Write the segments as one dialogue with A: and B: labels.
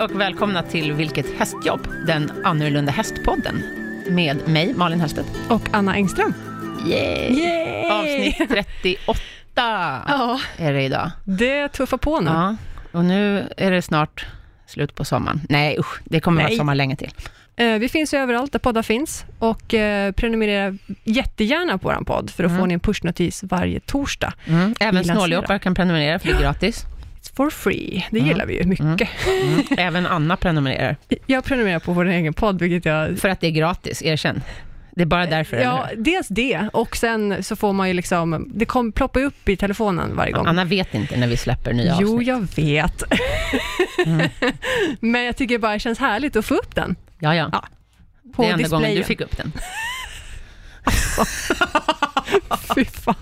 A: och välkomna till Vilket hästjobb? Den annorlunda hästpodden med mig, Malin Hellstedt.
B: Och Anna Engström.
A: Yay.
B: Yay!
A: Avsnitt 38
B: Ja,
A: är det idag.
B: det tuffar på nu.
A: Ja, och nu är det snart slut på sommaren. Nej usch, det kommer vara
B: Nej.
A: sommar länge till.
B: Eh, Vi finns ju överallt där poddar finns och eh, prenumerera jättegärna på vår podd för att
A: Mm.
B: få en pushnotis varje torsdag.
A: Mm. Även
B: Gillar
A: snåljåpar kan prenumerera för det är gratis.
B: It's for free, det
A: Mm.
B: gillar vi ju mycket.
A: Mm. Även Anna prenumererar,
B: Jag prenumererar på vår egen podd, vilket jag...
A: för att det är gratis, erkänn. Det är bara därför, eller
B: Ja,
A: hur?
B: dels det och sen så får man ju liksom, det kom, ploppar ju upp i telefonen varje gång.
A: Anna vet inte när vi släpper nya
B: jo,
A: avsnitt. Mm.
B: jag vet. Men jag tycker bara det känns härligt att få upp den
A: Ja, ja.
B: Ja, på
A: det är enda gången
B: displayen.
A: du fick upp den.
B: Fy fan.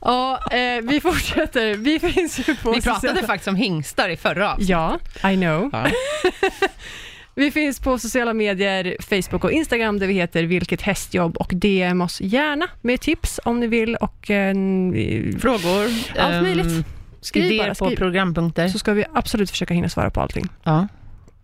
B: Ja, eh, vi fortsätter. Vi finns ju på...
A: Vi pratade
B: sociala-
A: faktiskt om hingstar i förra avsnittet.
B: Ja, I know.
A: Ja.
B: Vi finns på sociala medier, Facebook och Instagram, där vi heter Vilket hästjobb och DM oss gärna med tips om ni vill och eh,
A: Frågor.
B: Allt
A: ehm,
B: möjligt. Skriv
A: idéer
B: bara,
A: på
B: skriv.
A: programpunkter.
B: så ska vi absolut försöka hinna svara på allting.
A: Ja.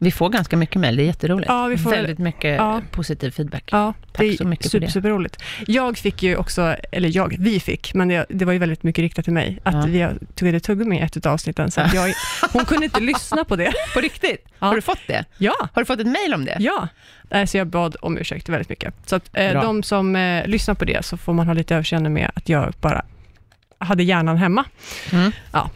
A: Vi får ganska mycket mejl, det är jätteroligt.
B: Ja, vi får väl-
A: Väldigt mycket
B: Ja.
A: positiv feedback.
B: Ja,
A: Tack
B: det är
A: så mycket för
B: super,
A: det.
B: superroligt. Jag fick ju också, eller jag, vi fick, men det, det var ju väldigt mycket riktat till mig, att
A: Ja.
B: vi tuggade tuggummi i ett av avsnitten, så att jag, hon kunde inte lyssna på det.
A: På riktigt?
B: Ja.
A: Har du fått det?
B: Ja,
A: Har du fått ett mejl om det?
B: Ja, Eh, så jag bad om ursäkt väldigt mycket. Så att
A: Bra.
B: eh, de som eh, lyssnar på det, så får man ha lite överseende med att jag bara hade hjärnan hemma.
A: Mm.
B: Ja.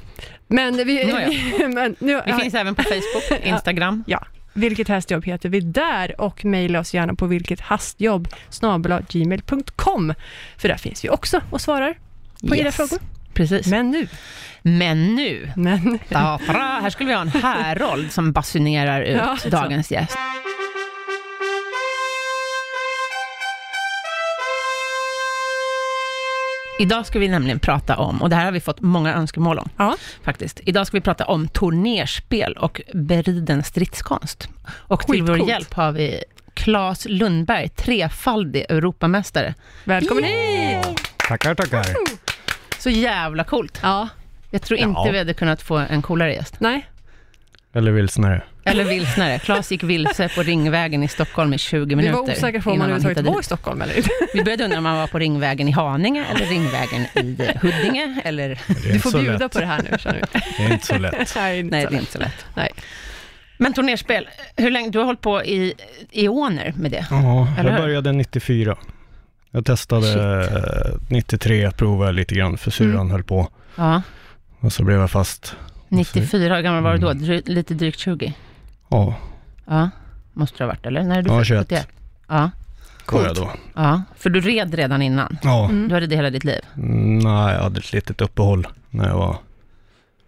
B: Men vi...
A: Nåja.
B: men, nu,
A: Vi finns även på Facebook, Instagram.
B: ja, vilket hästjobb heter vi där och mejla oss gärna på vilket hastjobb gmail.com för där finns vi också och svarar på era
A: Yes.
B: frågor.
A: Precis. Men,
B: Men nu,
A: nu,
B: men
A: da, fra, här skulle vi ha en härold som basunerar ut
B: Ja, så.
A: dagens gäst. Idag ska vi nämligen prata om, och det här har vi fått många önskemål om,
B: ja,
A: faktiskt. Idag ska vi prata om turnerspel och beriden stridskonst. Och till vår
B: Skitcoolt.
A: hjälp har vi Claes Lundberg, trefaldig Europamästare.
B: välkommen hit!
C: Tackar, tackar.
A: Så jävla coolt!
B: Ja,
A: Jag tror inte
C: Ja.
A: vi hade kunnat få en coolare gäst.
B: nej,
C: Eller vilsnare.
A: Eller vilsnare. Claes gick vilse på Ringvägen i Stockholm i 20
B: vi
A: minuter.
B: var osäkra på om
A: innan
B: man
A: han
B: överhuvudtaget
A: hittade
B: var i
A: dit.
B: Stockholm eller inte.
A: Vi började undra om han var på Ringvägen i Haninge eller Ringvägen i Huddinge. Eller...
C: Det är
B: Du
C: inte så
B: får bjuda
C: lätt.
B: på det här nu, känner vi.
C: Det är inte så lätt.
B: Nej,
A: Nej, det är inte så lätt.
B: Nej.
A: Men turnerspel, hur länge, du har hållit på i eoner med det?
C: Ja,
A: Eller
C: jag
A: hur?
C: började 94. Jag testade eh, 93, provade lite grann, för syrran
A: Mm.
C: höll på.
A: Ja.
C: Och så blev jag fast.
A: 94, hur gammal var du då?
B: Mm.
A: Dry, lite drygt 20?
C: Ja,
A: Ja, måste det ha varit, eller? När är du
C: Ja,
A: född?
C: 21.
A: 71? Ja,
C: var jag då.
A: ja, för du red redan innan.
C: Ja,
B: Mm.
A: Du hade det hela ditt liv.
C: Mm, nej, jag hade ett litet uppehåll när jag var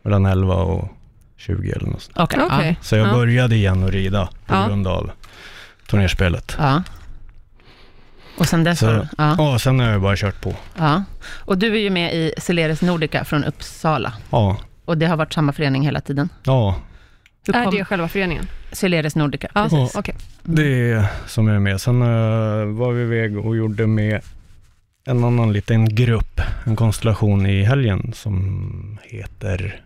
C: mellan 11 och 20 eller något sånt.
A: Okej.
B: Okej.
C: Så jag
B: Ja.
C: började igen att rida på
B: Ja.
C: grund av turnerspelet.
A: Ja. ja. Och sen dess
C: Så-
A: har du... Ja,
C: Ja, sen har jag bara kört på.
A: ja. Och du är ju med i Celeris Nordica från Uppsala.
C: Ja,
A: Och det har varit samma förening hela tiden.
C: ja.
A: Hur
B: Är
A: kom
B: det själva föreningen?
A: Celeris Nordica?
B: Ja,
A: Precis.
B: okej.
C: Det är som är med. Sen eh, var vi iväg och gjorde med en annan liten grupp, en konstellation i helgen som heter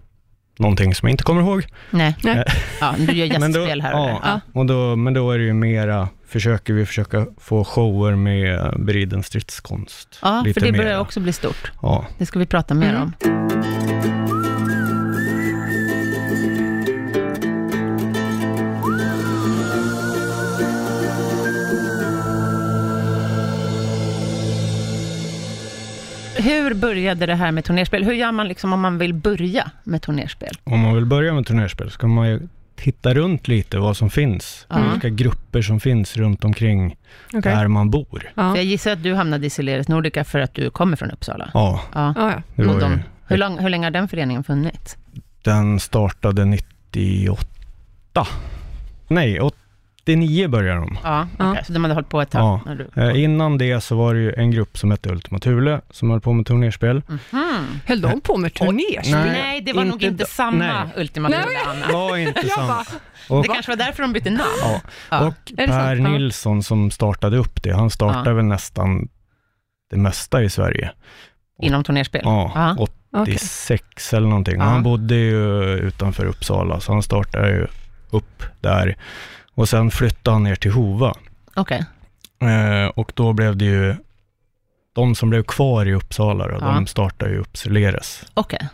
C: någonting som jag inte kommer ihåg.
A: Nej.
B: Nej.
A: Ja, du gör
C: Men då-
A: gästspel här och
C: ja.
A: där. Ja.
C: Och då, men då är det ju mera, försöker vi försöka få shower med beriden stridskonst.
A: Ja, för det börjar
C: mera.
A: också bli stort.
C: Ja.
A: Det ska vi prata mer
B: Mm.
A: om. Hur började det här med turnerspel? Hur gör man liksom om man vill börja med turnerspel?
C: Om man vill börja med turnerspel så kan man ju titta runt lite vad som finns.
A: Ja.
C: Vilka grupper som finns runt omkring
B: Okej.
C: där man bor.
B: Ja.
A: För jag gissar att du hamnade i Celeris Nordica för att du kommer från Uppsala.
C: Ja,
A: Ja.
B: Ja, ja.
C: det
A: Men
C: var
A: de-
C: ju
A: Hur, lång, hur länge har den föreningen funnits?
C: Den startade 98. Nej, 89 började de.
A: Ja,
B: Ja.
A: okej, så de hade hållit på ett tag.
C: Ja.
A: när du-
C: Eh, innan det så var det ju en grupp som hette Ultima Thule som höll på med turnerspel.
A: Mhm.
B: Höll de på med turnerspel?
A: Nej,
C: Nej,
A: det var nog
C: inte
A: inte
C: då-
A: samma
C: nej.
A: Ultima
B: Nej.
A: Thule, Anna.
C: Var inte samma.
A: Det
C: Och,
A: kanske var därför de bytte namn.
C: ja.
A: Ja.
C: och
B: det
C: Per
B: sant? Ja.
C: Nilsson som startade upp det, han startade
A: Ja.
C: väl nästan det mesta i Sverige.
A: Inom turnerspel.
C: Ja,
A: Ja.
C: 86 eller någonting.
A: Ja.
C: Han bodde ju utanför Uppsala, så han startade ju upp där. Och sen flyttade han ner till Hova.
A: Okej.
C: Eh, och då blev det ju, de som blev kvar i Uppsala då,
A: Ja.
C: de startade ju Uppseleres.
A: Okej.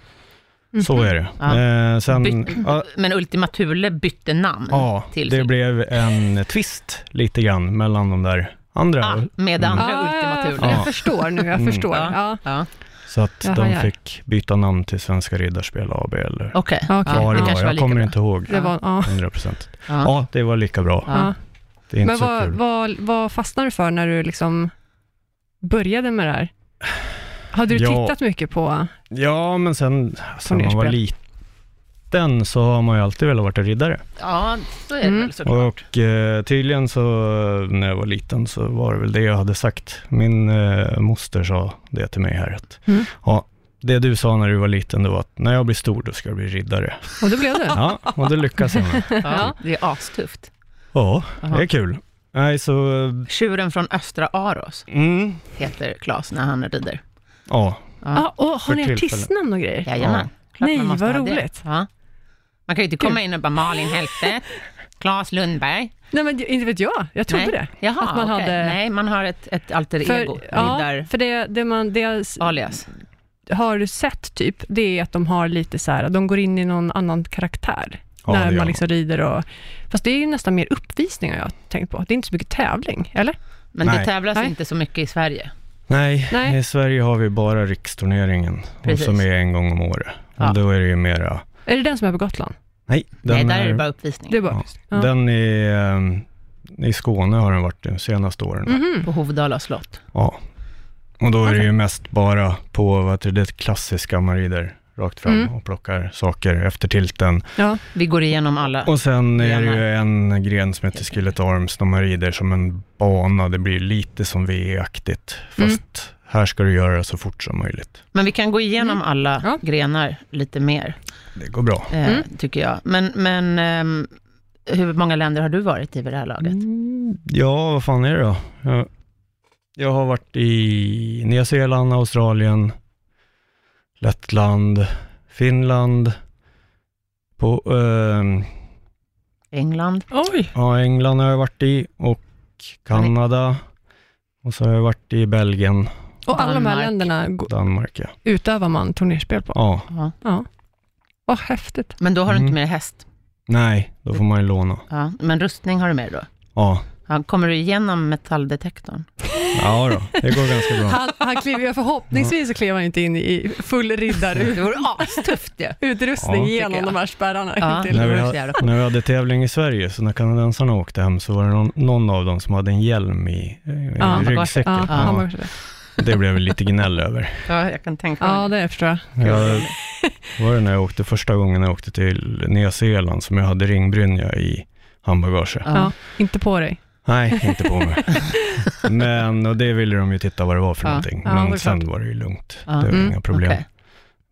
C: Så
B: Mhm.
C: är det.
A: Ja.
C: Eh, sen,
A: Byt-
C: ja,
A: Men Ultima Thule bytte namn.
C: ja,
A: till
C: det
A: sig.
C: blev en twist lite grann mellan de där andra.
A: Ah, med det
C: Mm.
A: andra Ultima
B: jag,
A: Thule.
C: Ja.
B: jag förstår nu, jag
C: Mm.
B: förstår.
A: Ja.
B: Ja.
A: Ja.
C: Så att
B: Jaha,
C: de
B: ja.
C: fick byta namn till Svenska Riddarspel AB eller
A: Okej.
B: Okej.
C: ja,
B: det
C: det var.
A: kanske
C: Jag
A: lika
C: kommer
A: bra.
C: inte ihåg
B: Det var, ja.
C: 100 procent.
A: Ja.
C: Ja, det var lika bra.
A: Ja.
B: Ja.
C: Det är inte
B: Men
C: så
B: vad,
C: kul.
B: vad, vad fastnade du för när du liksom började med det här? Hade du
C: Ja.
B: tittat mycket på...
C: Ja, men sen, sen man var
B: Turnerspel.
C: liten så har man ju alltid velat vara riddare.
A: ja, så är det
B: Mm.
A: väl såklart.
C: Och eh, tydligen så när jag var liten så var det väl det jag hade sagt. Min eh, moster sa det till mig här. Att,
B: Mm.
C: ja, det du sa när du var liten det var att när jag blir stor då ska jag bli riddare.
B: Och det blev du?
C: Ja, och det lyckas jag med.
A: Ja, det är astufft.
C: Ja, det
A: Jaha.
C: är kul. Nej, så...
A: Tjuren från Östra Aros
C: Mm,
A: heter Klas när han rider.
C: ja,
B: Ja, och har
C: För
B: ni
C: tillfället.
B: artistnamn och grejer?
A: Jajamän. Klart
B: Nej,
A: man måste
B: vad
A: ha det.
B: roligt.
A: Ja. Man kan ju inte komma in och bara Malin Hellstedt, Claes Lundberg.
B: Nej, men inte vet jag. Jag trodde
A: Nej.
B: det.
A: Jaha,
B: Att man
A: okej.
B: hade-
A: Nej, man har ett, ett alter ego,
B: ja,
A: riddar,
B: för det, det, man, det jag s-
A: alias.
B: har sett typ, det är att de har lite så här, de går in i någon annan karaktär.
C: Ja, det
B: när
C: gör
B: man
C: de.
B: liksom rider och... Fast det är ju nästan mer uppvisningar jag har tänkt på. Det är inte så mycket tävling, eller?
A: Men det
C: Nej.
A: tävlas
B: Nej.
A: inte så mycket i Sverige.
C: Nej,
B: Nej.
C: i Sverige har vi bara riksturneringen, och
A: Precis.
C: som är en gång om året.
A: Ja.
C: Och då är det ju mera...
B: Är det den som är på Gotland?
C: Nej,
A: Nej, där är det bara uppvisning.
B: Det är bara... Ja.
C: Ja. Den i, ehm, i Skåne har den varit de senaste åren.
B: Mhm.
A: På Hovdala slott.
C: Ja. Och då är det
B: Okej.
C: ju mest bara på vad heter det klassiska man rider rakt fram
B: Mm.
C: och plockar saker efter tilten.
B: ja.
A: Vi går igenom alla.
C: Och sen är det
A: Gärna.
C: ju en gren som heter Skillet Arms när man rider som en bana. Det blir lite som VE-aktigt,
B: Mm.
C: fast här ska du göra det så fort som möjligt.
A: Men vi kan gå igenom
B: Mm.
A: alla
B: Ja.
A: grenar lite mer,
C: Det går bra.
A: eh,
B: Mm.
A: tycker jag. Men, men ehm, hur många länder har du varit i vid det här laget?
C: Mm, Ja, vad fan är det då? Jag, jag har varit i Nya Zeeland, Australien, Lettland, Finland, på, eh,
A: England?
B: Oj!
C: ja, England har jag varit i och Kanada. Och så har jag varit i Belgien,
B: Och alla de här
A: Danmark.
B: länderna go-
C: Danmark. Ja,
B: utövar man turnerspel på.
C: ja
A: Ja.
B: Ja. Vad häftigt.
A: Men då har du
C: Mm.
A: inte med häst?
C: nej, då får man ju låna.
A: Ja. Men rustning har du med då?
C: Ja,
A: Ja. Kommer du igenom metalldetektorn?
C: ja då, det går ganska bra.
B: Han, han kliver, ju- förhoppningsvis så kliver han inte in i full
A: Det
B: riddarutrustning
A: vore astufft ju.
C: Ja.
A: Tycker
B: genom
A: jag.
B: de här spärrarna.
A: Ja.
B: till-
C: Nej,
A: Det
C: vi
A: vore
C: har-
A: så jävla
C: När vi hade tävling i Sverige, så när kanadensarna åkte hem, så var det någon, någon av dem som hade en hjälm i, i
B: Ja,
C: ryggsäcken.
B: Ja,
C: Ja.
B: han var också det.
C: Det blev väl lite gnäll över.
A: Ja, jag kan tänka mig.
B: ja, det förstår jag.
C: Jag, var det när jag åkte första gången jag åkte till Nya Zeeland som jag hade ringbrynja i handbagage?
A: Ja.
B: Ja. Inte på dig.
C: Nej, inte på mig. Men, och det ville de ju titta vad det var för
A: Ja.
C: någonting.
B: Ja, det är
C: Men
B: klart.
C: sen var det ju lugnt.
A: Ja.
C: Det var
B: Mm,
C: inga problem.
A: okej.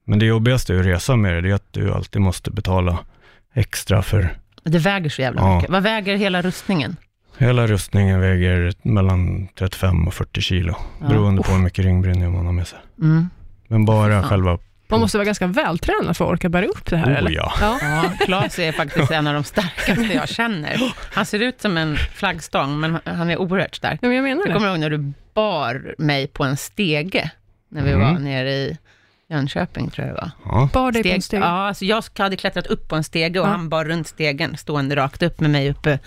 C: Men det jobbigaste att resa med det, det är att du alltid måste betala extra för
A: Det väger så jävla
C: Ja.
A: mycket. Vad väger hela rustningen?
C: Hela rustningen väger mellan 35 och 40 kilo,
A: Ja.
C: beroende på hur mycket ringbrynja man har med sig.
A: Mm.
C: Men bara
A: fan.
C: själva...
B: Man måste vara ganska vältränad för att orka bära upp det här, eller?
C: Oh, ja.
B: Ja.
A: Ja, Claes är faktiskt en av de starkaste jag känner. Han ser ut som en flaggstång, men han är oerhört stark.
B: ja, men jag menar
A: Jag
B: det.
A: kommer ihåg när du bar mig på en stege, när vi
C: Mm.
A: var nere i Jönköping, tror jag det var.
C: Ja.
B: Bar dig på en
A: Steg,
B: steg.
A: ja, alltså jag hade klättrat upp på en stege och
B: Ja.
A: han bar runt stegen, stående rakt upp med mig uppe.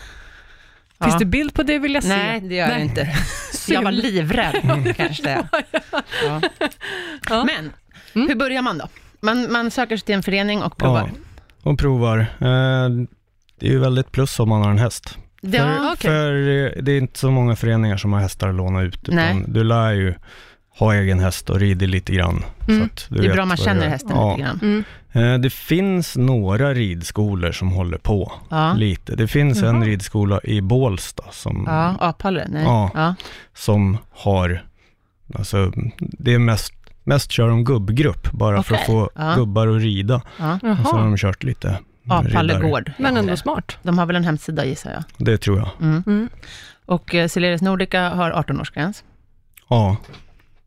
A: Ja.
B: Finns det bild på det vill jag se.
A: Nej, det gör jag inte. Jag var livrädd, kan jag säga. Ja.
B: Ja.
A: Men,
B: Mm.
A: hur börjar man då? Man, man söker sig till en förening och
C: ja.
A: provar.
C: Och provar. Eh, Det är ju väldigt plus om man har en häst.
A: Ja,
C: för, för eh, det är inte så många föreningar som har hästar att låna ut. Utan
A: Nej.
C: Du lär ju ha egen häst och rider lite grann.
B: Mm.
C: att du
A: det är
C: vet
A: bra man
C: vad du
A: känner
C: gör.
A: hästen
C: ja.
A: lite grann.
B: Mm.
C: Eh, Det finns några ridskolor som håller på
A: Ja,
C: lite. Det finns en
B: Jaha.
C: ridskola i Bålsta som
A: ja Aphalle, nej.
C: Ja.
A: Ja.
C: som har, alltså det är mest, mest kör de gubbgrupp, bara för att
A: Okej,
C: få
A: ja.
C: gubbar att rida.
A: Ja.
C: Och så har
B: Jaha.
C: de kört lite
A: Aphalle
C: riddare.
A: gård.
B: Men ändå
A: heter
B: smart.
A: det. De har väl en hemsida gissar jag.
C: Det tror jag.
A: Mm.
B: Mm.
A: Och eh, Celerius Nordica har 18-årsgräns.
C: Ja,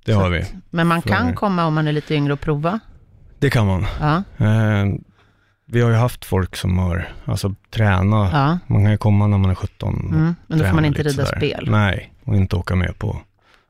C: det
A: Så
C: har vi.
A: att- Men man
C: För-
A: kan komma om man är lite yngre och prova.
C: Det kan man.
A: Ja.
C: Eh, vi har ju haft folk som har, alltså träna.
A: Ja.
C: Man kan ju komma när man är 17 och
A: Mm. Men då får
C: träna
A: man inte
C: lite
A: rida
C: sådär.
A: spel
C: Nej, och inte åka med på.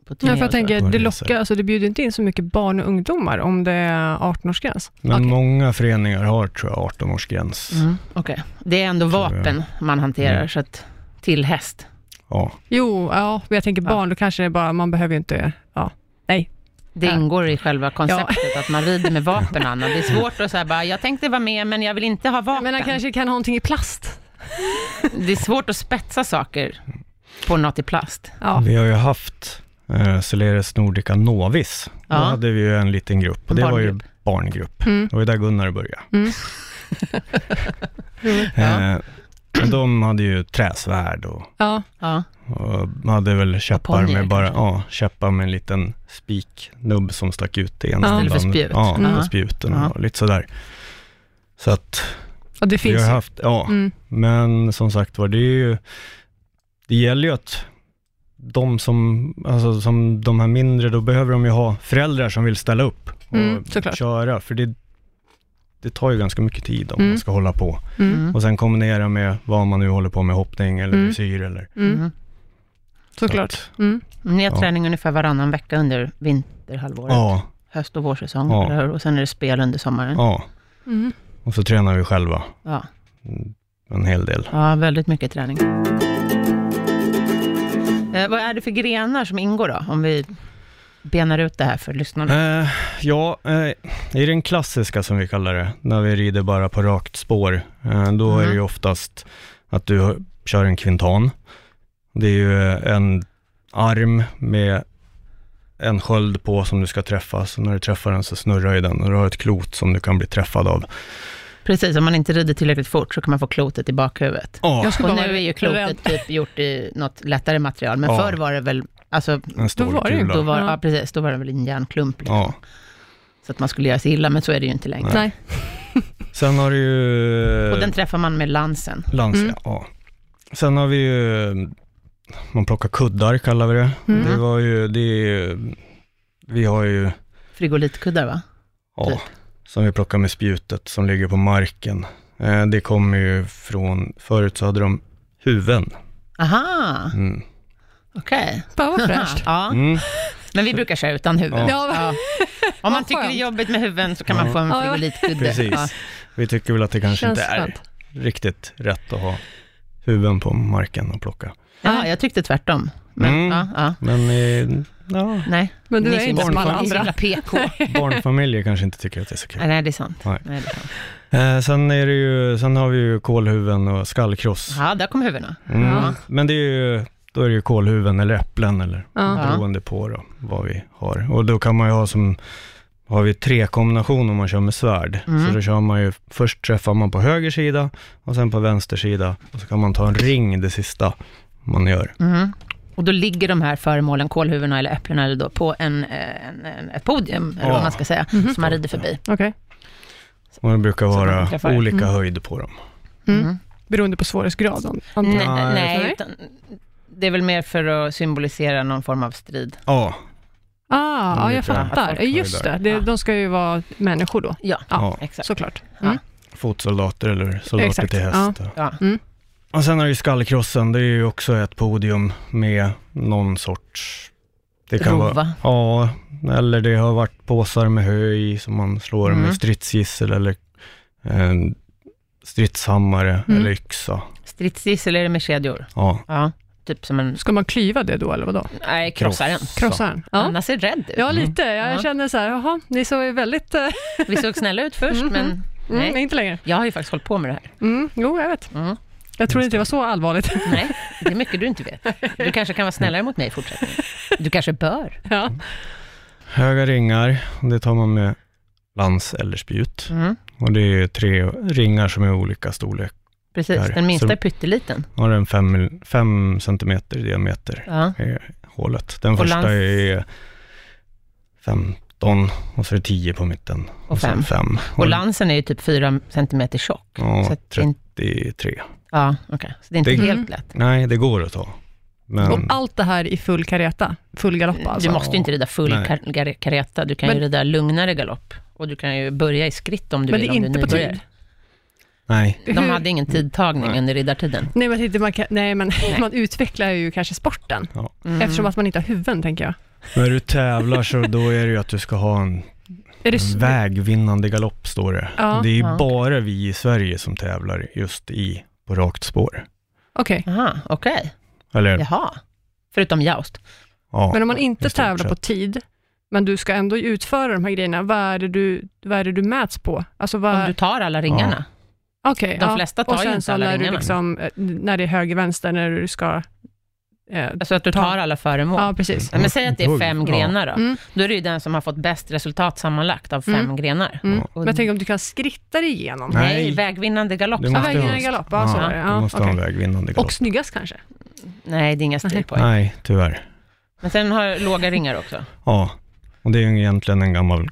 A: på turné
B: Ja,
A: och
B: för jag
A: så.
B: tänker,
C: På
B: det
C: resor.
B: lockar, alltså det bjuder inte in så mycket barn och ungdomar om det är 18-årsgräns.
C: Men
A: Okej.
C: många föreningar har tror jag 18-årsgräns.
A: Mm, okej. Det är ändå vapen man hanterar,
C: Mm.
A: så att, till häst.
C: Ja,
B: Jo, ja, men jag tänker
A: Ja.
B: barn, då kanske det är bara, man behöver ju inte, ja, nej.
A: Det
B: Ja.
A: ingår i själva konceptet att man rider med vapen, Anna. Det är svårt att säga bara, jag tänkte vara med, men jag vill inte ha vapen.
B: Men han kanske kan ha någonting i plast.
A: Det är svårt att spetsa saker på något i plast.
B: Ja.
C: vi har ju haft eh, Celeres Nordica Novis.
A: Ja.
C: Då hade vi ju en liten grupp och det var ju
A: Barngrupp.
C: barngrupp.
B: Mm.
C: Det var ju där Gunnar började.
B: Mm. Mm.
A: Ja.
C: Eh, och de hade ju träsvärd och,
B: Ja.
A: Ja.
C: och hade väl käppar
A: ponnier
C: med bara,
A: kanske.
C: ja, käppar med en liten spiknubb som stack ut i ena
B: Ja. Istället
A: för
C: handen.
A: spjut.
C: Ja,
A: Mm.
C: på spjuten
A: Ja.
C: och lite sådär. Så att
B: Och det
C: vi
B: finns
C: har
B: ju.
C: haft, ja,
B: Mm.
C: men som sagt var, det är ju, det gäller ju att de som, alltså som de här mindre, då behöver de ju ha föräldrar som vill ställa upp och
B: Mm, såklart.
C: köra, för det, det tar ju ganska mycket tid om
B: Mm.
C: man ska hålla på.
B: Mm.
A: Mm.
C: Och sen kombinera med vad man nu håller på med, hoppning eller
B: Mm.
C: dressyr eller
B: Mm.
A: Mm.
B: Såklart. Mm.
A: Ni har
C: Ja.
A: träning ungefär varannan vecka under vinterhalvåret,
C: Ja,
A: höst och vårsäsong,
C: Ja.
A: eller hur? och sen är det spel under sommaren. Ja.
C: ja.
B: Mm.
C: Och så tränar vi själva
A: Ja.
C: mm, en hel del.
A: väldigt mycket träning. Eh, vad är det för grenar som ingår då, om vi benar ut det här för lyssnarna?
C: Eh, ja, eh, i den klassiska som vi kallar det, när vi rider bara på rakt spår, eh, då är det ju
A: Mhm.
C: oftast att du har- kör en kvintan. Det är ju eh, en arm med en sköld på som du ska träffa, så när du träffar den så snurrar ju den och du har ett klot som du kan bli träffad av.
A: Precis, om man inte rider tillräckligt fort så kan man få klotet i bakhuvudet.
C: Ja,
B: Jag ska
A: Och
B: bara
A: nu
B: vara
A: är ju
B: rädd.
A: klotet typ gjort i något lättare material, men
C: Ja.
A: förr var det väl, alltså,
C: en stor
B: var det ju
C: kula.
A: då var,
B: Ja.
A: ja. precis, då var det väl en järnklump, liksom,
C: Ja.
A: så att man skulle göra sig illa, men så är det ju inte längre.
B: Nej.
C: Sen har du ju...
A: Och den träffar man med lansen.
C: Lansia,
B: Mm.
C: ja. Sen har vi ju, man plockar kuddar kallar vi det.
B: Mm.
C: Det var ju, det är ju, vi har ju,
A: Frigolitkuddar va?
C: ja,
A: Typ.
C: som vi plockar med spjutet som ligger på marken. Eh, det kommer ju från, förut så hade de huven.
A: Aha,
C: Mm.
A: okej.
B: Fan vad fräscht.
A: ja.
C: Mm.
A: Men vi brukar köra utan huvud.
C: Ja.
B: Ja.
A: Om man
B: Vad
A: tycker det är
B: skönt.
A: jobbigt med huvuden så kan
C: Ja.
A: man få en
B: Ja, ja.
A: frigolitkudde.
C: Precis.
A: Ja.
C: Vi tycker väl att det kanske
B: Känns
C: inte är
B: skönt.
C: riktigt rätt att ha huven på marken och plocka.
A: Ja, jag tyckte tvärtom. Men,
C: Mm.
A: ja, ja.
C: Men eh, ja,
A: Nej,
B: Men du
A: ni
B: är
A: så
B: inte som
A: himla-
B: alla
A: ni är så
B: andra.
A: himla PK.
C: barnfamiljer kanske inte tycker att det är så kul.
A: Nej, det är sant.
C: Nej.
A: Nej, det är sant.
C: Eh, sen, är det ju, sen har vi ju kolhuven och skallkross.
A: Ja, där kom huvudena.
C: Mm.
A: Ja.
C: Men det är ju, då är det ju kolhuven eller äpplen eller
B: Ja.
C: beroende på då, vad vi har. Och då kan man ju ha som, har vi tre kombinationer om man kör med svärd.
A: Mm.
C: Så då kör man ju, först träffar man på höger sida och sen på vänster sida. Och så kan man ta en ring det sista man gör.
A: Mhm. Och då ligger de här föremålen, kålhuvudena eller äpplena eller då, på en, eh, en, en, ett podium, eller vad
C: Ja.
A: man ska säga,
B: Mhm.
A: som man rider förbi.
B: Okej.
C: Och det brukar
A: Så man
C: vara
A: träffar.
C: olika
B: Mm.
C: höjd på dem.
B: Mm.
A: Mhm.
B: Beroende på svårighetsgrad. an- antar jag.
A: Nej, nej,
B: Nej.
A: utan det är väl mer för att symbolisera någon form av strid.
C: Ja,
B: Ah, ja, jag
C: Olika
B: fattar.
A: folk
B: Ja, Just det,
C: där.
B: det
A: Ja.
B: de ska ju vara människor då,
A: Ja,
C: ja.
A: exakt.
B: såklart. Mm.
C: fotsoldater eller soldater
B: Exakt,
C: till häst.
A: Ja.
B: Mm.
C: Och sen har du ju skallkrossen, det är ju också ett podium med någon sorts... Det kan vara
A: Rova.
C: Ja, eller det har varit påsar med hö i som man slår
A: Mm.
C: med stridsgissel eller eh, stridshammare
B: Mm.
C: eller yxa.
A: Stridsgissel är det med kedjor.
C: Ja,
A: Ja, typ som en...
B: Ska man klyva det då, eller vadå?
A: Nej, Eh, krossar den.
B: Krossa den? Ja.
A: Anna ser rädd ut.
B: ja, lite.
A: Mm. Ja.
B: Jag känner så här, jaha, ni såg ju väldigt... eh,
A: Vi såg snälla ut först,
B: Mhm.
A: men
B: Mm,
A: nej.
B: inte längre.
A: Jag har ju faktiskt hållit på med det här.
B: Mm, jo, jag vet.
A: Mm.
B: Jag trodde inte det var så allvarligt.
A: Nej, det är mycket du inte vet. Du kanske kan vara snällare mot mig i fortsättningen. Du kanske bör.
B: Ja.
C: Höga ringar, det tar man med lans eller spjut.
A: Mm.
C: Och det är tre ringar som är olika storlek.
A: Precis,
C: Där.
A: den minsta
C: Så-
A: är pytteliten.
C: Har den fem, mil- fem centimeter i diameter
A: Ja.
C: är hålet. Den
A: Och
C: första
A: lans-
C: är 15 och så är det 10 på mitten.
A: Och fem.
C: sen fem.
A: Och lansen är ju typ fyra centimeter tjock. så
C: Ja,
A: att det är
C: 33.
A: inte- Ja, okej. Så det är inte
C: Det-
A: helt lätt.
C: Nej, det går att ta. Men...
B: Och allt det här i full kareta, full galopp alltså.
A: Du måste ju inte rida full
C: Nej.
A: kar- gar- kareta, du kan
B: Men-
A: ju rida lugnare galopp. Och du kan ju börja i skritt om du
B: Men det
A: vill,
B: är
A: om du
B: inte på
A: nybörjare.
B: tid.
C: Nej.
A: De
B: Hur-
A: hade ingen tidtagning
C: Nej.
A: under riddartiden.
B: Nej, men, jag tänkte man, kan, nej, men man utvecklar ju kanske sporten,
C: Ja.
A: Mm.
B: eftersom att man inte har huvuden, tänker jag.
C: När du tävlar så då är det ju att du ska ha en
B: Är det, s-
C: vägvinnande galopp, står det.
B: Ja,
C: Mm, det är ju
A: ja.
C: bara vi i Sverige som tävlar just i På rakt spår.
B: Okej,
A: Aha, okej.
C: Eller, ja.
A: Jaha. Förutom Jaust.
B: men om man inte
C: i stort
B: tävlar på tid, men du ska ändå utföra de här grejerna, vad är det du, vad är det du mäts på? Alltså vad,
A: Om du tar alla ringarna.
B: Okej,
A: De flesta tar
B: Och
A: ju
B: sen
A: inte
B: så
A: alla
B: när du
A: ringarna.
B: liksom, eh, när det är höger, vänster, när du ska... Eh,
A: Alltså att du
B: Ta.
A: tar alla föremål.
B: ja, precis.
A: Men säg att det är fem
C: Ja.
A: grenar då.
B: Mm.
A: Då är det ju den som har fått bäst resultat sammanlagt av fem
B: Mm.
A: grenar.
B: Mm.
A: Och-
B: Men jag tänker om du kan skritta dig igenom.
C: Nej.
A: Nej, vägvinnande galopp.
C: Du
A: sa
B: Ja,
C: måste
A: han.
B: vägen
C: ha-
B: är galopp, ja, så var det.
C: du
B: Ja,
C: måste ha en
B: okej.
C: vägvinnande galopp.
B: Och snyggast kanske?
A: Nej, det är inga stilpoäng.
C: Nej, tyvärr.
A: Men sen har jag låga ringar också.
C: Ja, och det är ju egentligen en gammal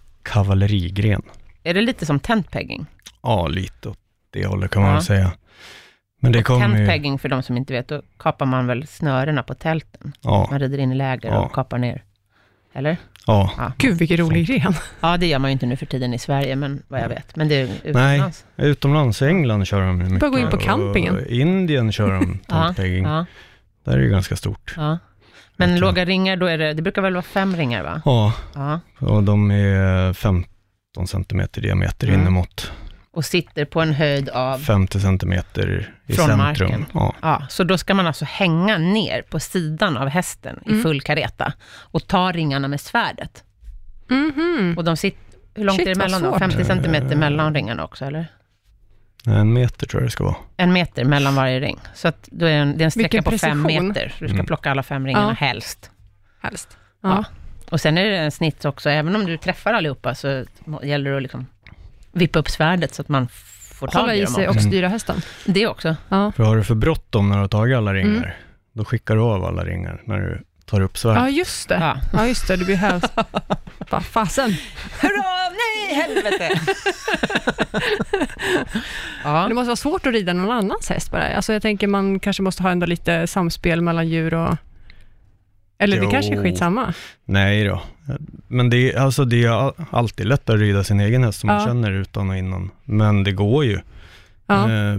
C: kavallerigren.
A: Är det lite som tentpegging?
C: Ja, lite åt det hållet kan man
A: Ja.
C: väl säga. Men det kommer ju...
A: Tentpegging, för de som inte vet, då kapar man väl snörena på tälten.
C: Ja,
A: Man rider in i läger
C: Ja.
A: och kapar ner. Eller?
C: ja.
B: Gud, vilken rolig gren.
A: Ja, det gör man ju inte nu för tiden i Sverige, men vad jag vet. Men det är ju utomlands.
C: Utomlands, i England kör de ju mycket.
B: Bara gå in på
C: och
B: campingen.
C: Indien kör de
A: Ja,
C: tentpegging.
A: Ja,
C: Där är det ju ganska stort.
A: ja. Men
C: Verkligen.
A: låga ringar, då är det, det brukar väl vara fem ringar va?
C: Ja,
A: Ja.
C: och de är 15 centimeter i diameter
A: Mm.
C: inemot.
A: Och sitter på en höjd av...
C: 50 centimeter i
A: Från
C: centrum.
A: marken.
C: Ja.
A: Ja, så då ska man alltså hänga ner på sidan av hästen
B: Mm.
A: i full kareta och ta ringarna med svärdet.
B: Mhm.
A: Och de sitter, hur långt
B: Shit,
A: är det
B: vad
A: mellan dem?
B: svårt.
A: 50 centimeter mellan ringarna också, eller?
C: En meter tror jag det ska vara.
A: En meter mellan varje ring. Så att då är det en, det är en sträcka
B: Vilken
A: på fem
B: precision.
A: meter. Du ska
C: Mm.
A: plocka alla fem ringarna
B: Ja.
A: helst.
B: Helst. Ja.
A: Och sen är det en snitt också, även om du träffar allihopa så må- gäller det att liksom vippa upp svärdet så att man får tag
B: Hålla
A: i
B: i
A: dem.
B: sig
A: också.
B: och
C: också.
B: styra hästen.
A: Det också.
B: Ja,
C: För har du för bråttom när du har tagit alla ringar,
B: Mm.
C: då skickar du av alla ringar när du tar upp
B: ja
C: svärdet.
B: just det.
A: Ja.
B: Ja, just det. Du blir helst... Vad fasen.
A: Hurra, nej helvete!
B: Men
A: ja.
B: Det måste vara svårt att rida någon annans häst bara. Alltså jag tänker man kanske måste ha ändå lite samspel mellan djur och... Eller det
C: Jo.
B: kanske är skitsamma.
C: Nej då. Men det är, alltså, det är al- alltid lätt att rida sin egen häst som man
B: Ja.
C: känner utan och innan. Men det går ju.
B: Ja,
C: Eh,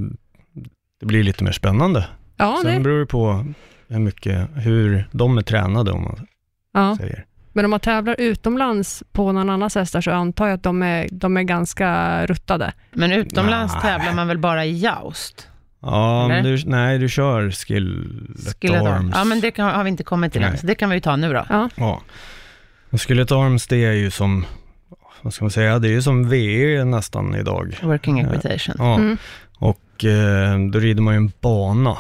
C: Det blir lite mer spännande.
B: ja,
C: Sen
B: det,
C: beror det på hur mycket, hur de är tränade om man
B: ja.
C: säger.
B: Men om man tävlar utomlands på någon annans hästar så antar jag att de är, de är ganska ruttade.
A: Men utomlands
C: Nej.
A: tävlar man väl bara i joust?
C: Ja, men
A: Eller?
C: du, nej du kör Skillet
A: Skulle jag
C: Arms.
A: ta. Ja, men det kan, har vi inte kommit till än,
C: Nej.
A: så det kan vi ju ta nu då.
C: Ja. Och Skillet Arms det är ju som, vad ska man säga, det är ju som VE nästan idag.
A: Working
C: Ja.
A: equitation.
C: Ja.
B: Mm.
C: Och eh, då rider man ju en bana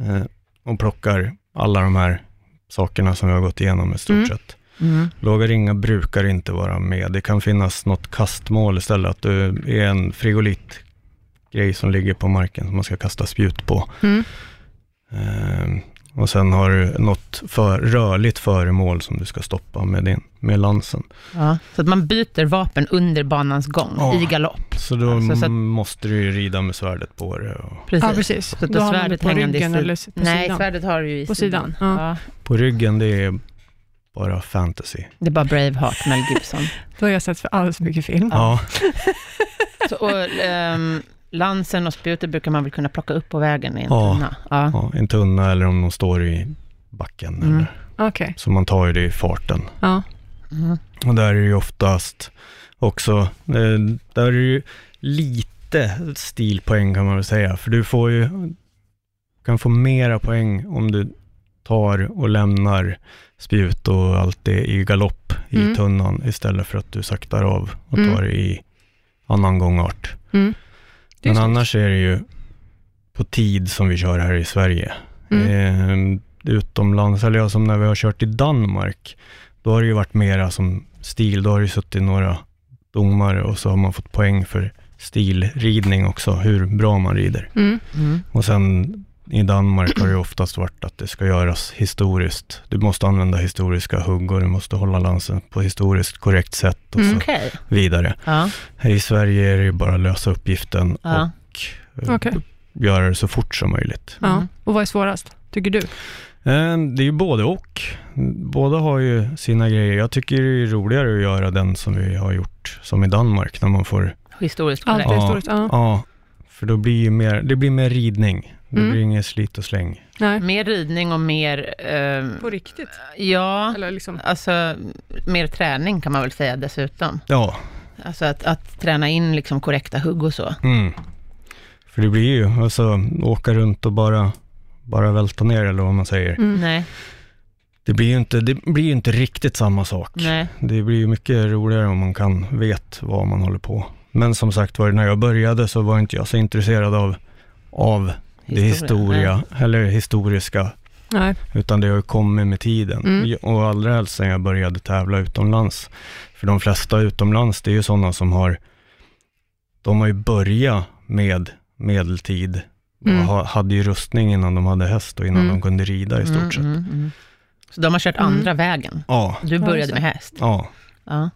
C: eh, och plockar alla de här sakerna som vi har gått igenom i stort
B: Mm.
C: sett.
A: Mm.
C: Låga ringar brukar inte vara med. Det kan finnas något kastmål istället, att det är en frigolitgrej som ligger på marken som man ska kasta spjut på.
B: Mm.
C: Eh, och sen har du något för, rörligt föremål som du ska stoppa med, din, med lansen.
A: Ja. Så att man byter vapen under banans gång,
C: Ja.
A: i galopp.
C: Så då
A: Alltså, så att-
C: måste du ju rida med svärdet på det. Och
A: Precis.
B: Ja, precis. Så
A: att du har svärdet hängande i sid-
B: eller s- på
A: Nej,
B: sidan.
A: svärdet har du ju i
B: På sidan,
A: sidan.
B: ja.
A: Ja.
C: på ryggen, det är bara fantasy.
A: Det är bara Braveheart, Mel Gibson.
B: Då har jag sett för alldeles för mycket film.
C: Ja,
A: Så, och, ehm, lansen och spjutet brukar man väl kunna plocka upp på vägen i en
C: Ja.
A: tunna. Ja.
C: ja, en tunna eller om de står i backen.
A: Mm.
C: Eller.
B: Okej.
C: Så man tar ju det i farten.
B: Ja.
A: Mm.
C: Och där är det ju oftast också, eh, där är det ju lite stilpoäng kan man väl säga, för du får ju, kan få mera poäng om du tar och lämnar spjut och allt det i galopp i
B: Mm.
C: tunnan istället för att du saktar av och
B: Mm.
C: tar det i annan gångart.
B: Mm. Det är
C: Men
B: snyggt.
C: annars är det ju på tid som vi kör här i Sverige.
B: Mm.
C: Eh, utomlands, eller ja, som när vi har kört i Danmark, då har det ju varit mera som stil. Då har det ju suttit några domare och så har man fått poäng för stilridning också, hur bra man rider.
B: Mm.
A: Mm.
C: Och sen i Danmark har det ju oftast varit att det ska göras historiskt. Du måste använda historiska hugg och du måste hålla lansen på historiskt korrekt sätt och
B: Mm.
C: så
A: Okej.
C: vidare.
A: Ja.
C: Här i Sverige är det ju bara att lösa uppgiften
A: Ja.
C: och eh,
B: Okej.
C: göra det så fort som möjligt.
B: Ja.
A: Mm.
B: Och vad är svårast, tycker du?
C: Eh, Det är ju både och. Båda har ju sina grejer. Jag tycker det är roligare att göra den som vi har gjort, som i Danmark, när man får...
A: Historiskt
B: Allt
A: korrekt.
B: är
C: Ja.
B: historiskt. Ja.
C: Ja, För då blir ju mer, det blir mer ridning. Det
B: Mm.
C: blir inget slit och släng.
B: Nej.
A: Mer ridning och mer, eh,
B: På riktigt?
A: ja,
B: Eller liksom,
A: alltså mer träning kan man väl säga dessutom.
C: Ja,
A: Alltså att, att träna in liksom korrekta hugg och så.
C: mm. För det blir ju, alltså åka runt och bara, bara välta ner eller vad man säger.
B: mm.
A: Nej,
C: Det blir ju inte, det blir ju inte riktigt samma sak.
A: nej.
C: Det blir ju mycket roligare om man kan vet vad man håller på. Men som sagt var, när jag började så var inte jag så intresserad av, av det
A: Nej.
C: historia, eller historiska,
B: Nej.
C: utan det har ju kommit med tiden.
B: Mm.
C: Och allra helst sen jag började tävla utomlands. För de flesta utomlands, det är ju sådana som har, de har ju börjat med medeltid, och
B: Mm.
C: ha, hade ju rustning innan de hade häst och innan
B: Mm.
C: de kunde rida i stort
A: Mm,
C: sett.
A: mm, mm. Så de har kört
B: Mm.
A: andra vägen.
C: Ja,
A: Du
B: Ja,
A: började
B: just det.
A: med häst.
C: ja.
A: Ja.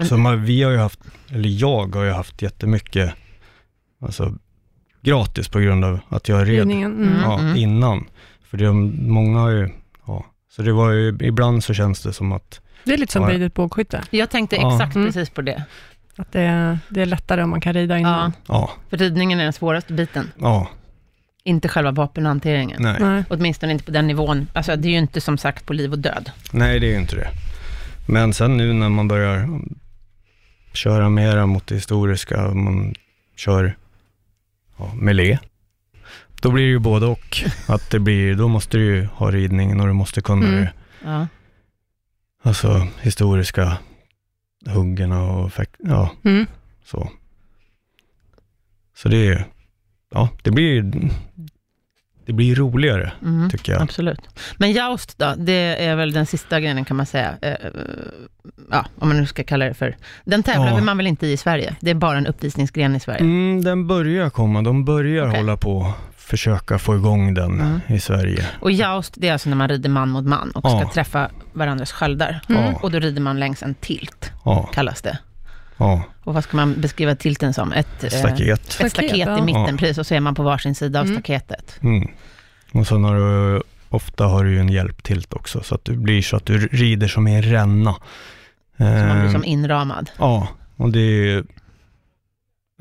C: Så man, vi har ju haft, eller jag har ju haft jättemycket, alltså gratis på grund av att jag red
B: Ridningen. Mm.
A: Mm.
C: ja, innan. För det, många har ju, ja. Så det var ju, ibland så känns det som att,
B: Det är lite som
C: Ja.
B: ridet bågskytte,
A: Jag tänkte
C: Ja.
A: exakt
B: Mm.
A: precis på det.
B: att det är, det är lättare om man kan rida innan.
C: ja,
A: För ridningen är den svåraste biten,
C: ja,
A: inte själva vapenhanteringen.
C: nej,
B: Nej.
A: Åtminstone inte på den nivån. Alltså det är ju inte som sagt på liv och död.
C: nej det är ju inte det. Men sen nu när man börjar köra mera mot det historiska, man kör ja, melé, då blir det ju både och. Att det blir, då måste du ju ha ridningen och du måste kunna
B: Mm.
C: det
A: Ja.
C: Alltså historiska huggerna och fäk- ja,
B: Mm.
C: så. Så det är ju, ja, det blir ju, det blir ju roligare
A: Mm.
C: tycker jag.
A: Absolut. Men joust då, det är väl den sista grenen kan man säga. Eh, eh, Ja, om man nu ska kalla det för. Den tävlar
C: Ja.
A: väl man väl inte i i Sverige? Det är bara en uppvisningsgren i Sverige.
C: Mm, den börjar komma, de börjar
A: Okej.
C: hålla på och försöka få igång den
A: Mm.
C: i Sverige.
A: Och joust, det är alltså när man rider man mot man och
C: Ja.
A: ska träffa varandras sköldar.
B: Mm.
C: Ja,
A: Och då rider man längs en tilt,
C: ja,
A: kallas det.
C: ja,
A: Och vad ska man beskriva tilten som? Ett, eh,
C: staket.
A: ett staket
B: Staket,
A: i
B: ja.
A: mitten,
C: Ja.
A: precis. Och så är man på varsin sida av
B: Mm.
A: staketet.
C: Mm. Och sen har du, ofta har du ju en hjälptilt också, så att du blir så att du rider som i en ränna.
A: Så man blir
C: Ehm,
A: som inramad.
C: Ja, och det är ju...